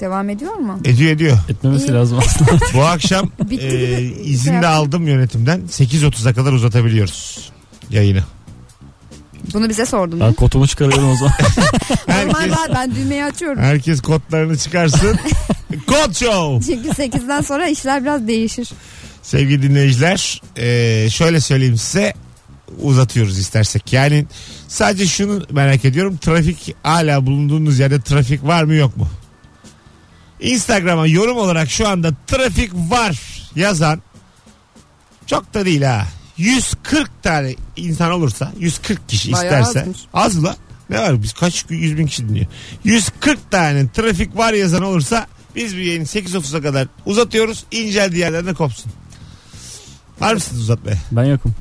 S3: Devam ediyor mu?
S2: ediyor ediyor.
S4: Etmemesi
S3: İyi.
S4: lazım aslında.
S2: Bu akşam
S3: Bitti
S2: e,
S3: mi?
S2: izin de
S3: Şey
S2: aldım yönetimden. 8.30'a kadar uzatabiliyoruz yayını.
S3: Bunu bize sordun.
S4: ben kotumu çıkarıyorum o zaman.
S3: Normal
S2: Herkes,
S3: var, ben düğmeyi açıyorum.
S2: herkes kodlarını çıkarsın. Kod Show.
S3: Çünkü 8'den sonra işler biraz değişir.
S2: Sevgili dinleyiciler e, şöyle söyleyeyim size uzatıyoruz istersek. Yani sadece şunu merak ediyorum. Trafik hala bulunduğunuz yerde trafik var mı yok mu? Instagram'a yorum olarak şu anda trafik var yazan çok da değil ha. 140 tane insan olursa 140 kişi
S3: Bayağı
S2: isterse
S3: azmış.
S2: az la ne var biz kaç 100 bin kişi dinliyor. 140 tane trafik var yazan olursa biz bir yayını 8.30'a kadar uzatıyoruz. İnceldiği yerden de kopsun. Var mısınız uzatmaya?
S4: Ben yokum.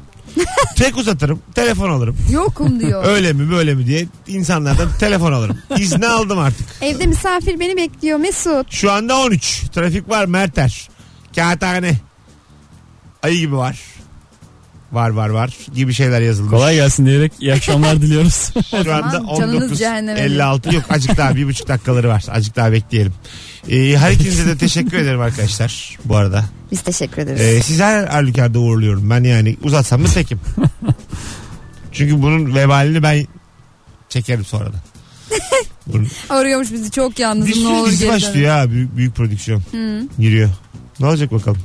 S2: Tek uzatırım. Telefon alırım.
S3: Yokum diyor.
S2: Öyle mi böyle mi diye insanlardan telefon alırım. İzni aldım artık.
S3: Evde misafir beni bekliyor Mesut.
S2: Şu anda 13. Trafik var Merter. Kağıthane. Ayı gibi var. Var var var gibi şeyler yazılmış.
S4: Kolay gelsin diyerek iyi akşamlar diliyoruz.
S2: Şu
S3: zaman
S2: anda
S3: canınız
S2: 19.
S3: cehenneme
S2: 56 yok azıcık daha bir buçuk dakikaları var. Azıcık daha bekleyelim. Ee, her ikinize de teşekkür ederim arkadaşlar bu arada.
S3: Biz teşekkür ederiz.
S2: Ee, sizi her halükarda uğurluyorum. Ben yani uzatsam da tekim. Çünkü bunun vebalini ben çekerim sonra da. Bunun-
S3: Arıyormuş bizi çok
S2: bir şey
S3: yalnızım ne
S2: sürü
S3: olur
S2: dizi
S3: geri dön.
S2: başlıyor ha büyük, büyük prodüksiyon.
S3: Hı.
S2: Giriyor. Ne olacak bakalım?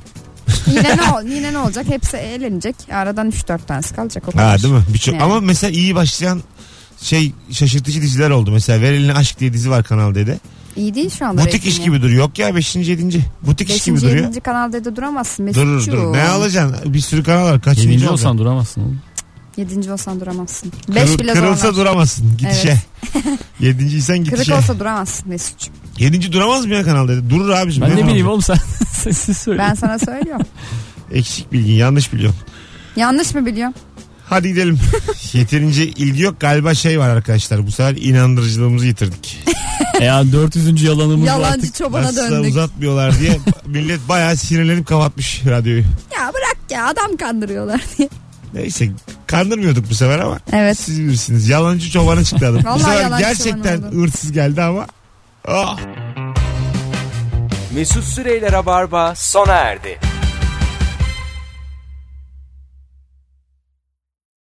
S3: Yine ne, ol- yine ne olacak? Hepsi eğlenecek. Aradan 3-4 tanesi kalacak o kadar.
S2: Ha değil mi? Birçok
S3: Yani.
S2: ama mesela iyi başlayan şey şaşırtıcı diziler oldu. Mesela Ver Eline Aşk diye dizi var Kanal D'de.
S3: İyi değil şu anda.
S2: Butik iş
S3: reytingi.
S2: gibi duruyor. Yok ya 5. 7. Butik iş gibi
S3: Beşinci,
S2: duruyor.
S3: yedinci kanalda da duramazsın
S2: Durur
S3: Mesut'cuğum.
S2: dur. Ne alacaksın? Bir sürü kanal var. Kaçıncı
S4: Yedinci
S2: olsan
S4: olsan duramazsın oğlum.
S3: Yedinci olsan duramazsın. Beş bile
S2: Kırılsa
S3: zorlar.
S2: duramazsın gidişe.
S3: Evet.
S2: Yedinciysen
S3: Kırık
S2: gidişe.
S3: olsa duramazsın Mesut'cuğum.
S2: Yedinci duramaz mı ya Kanal D'de? Durur abicim.
S4: Ben ne
S2: duramaz?
S4: bileyim oğlum sen sessiz söyle.
S3: Ben sana söylüyorum.
S2: Eksik bilgin yanlış biliyorum.
S3: Yanlış mı biliyorum?
S2: Hadi gidelim. Yeterince ilgi yok. Galiba şey var arkadaşlar. Bu sefer inandırıcılığımızı yitirdik.
S4: E ya 400. yalanımız var
S3: Yalancı
S4: artık.
S3: çobana
S2: Nasıl da
S3: döndük.
S2: uzatmıyorlar diye millet bayağı sinirlenip kapatmış radyoyu.
S3: Ya bırak ya adam kandırıyorlar diye.
S2: Neyse kandırmıyorduk bu sefer ama
S3: Evet.
S2: siz bilirsiniz. Yalancı çobana çıktı adam. bu
S3: Vallahi
S2: sefer
S3: yalancı
S2: gerçekten
S3: çoban oldu.
S2: hırsız geldi ama. Ah.
S1: Mesut Süreyler'e barba sona erdi.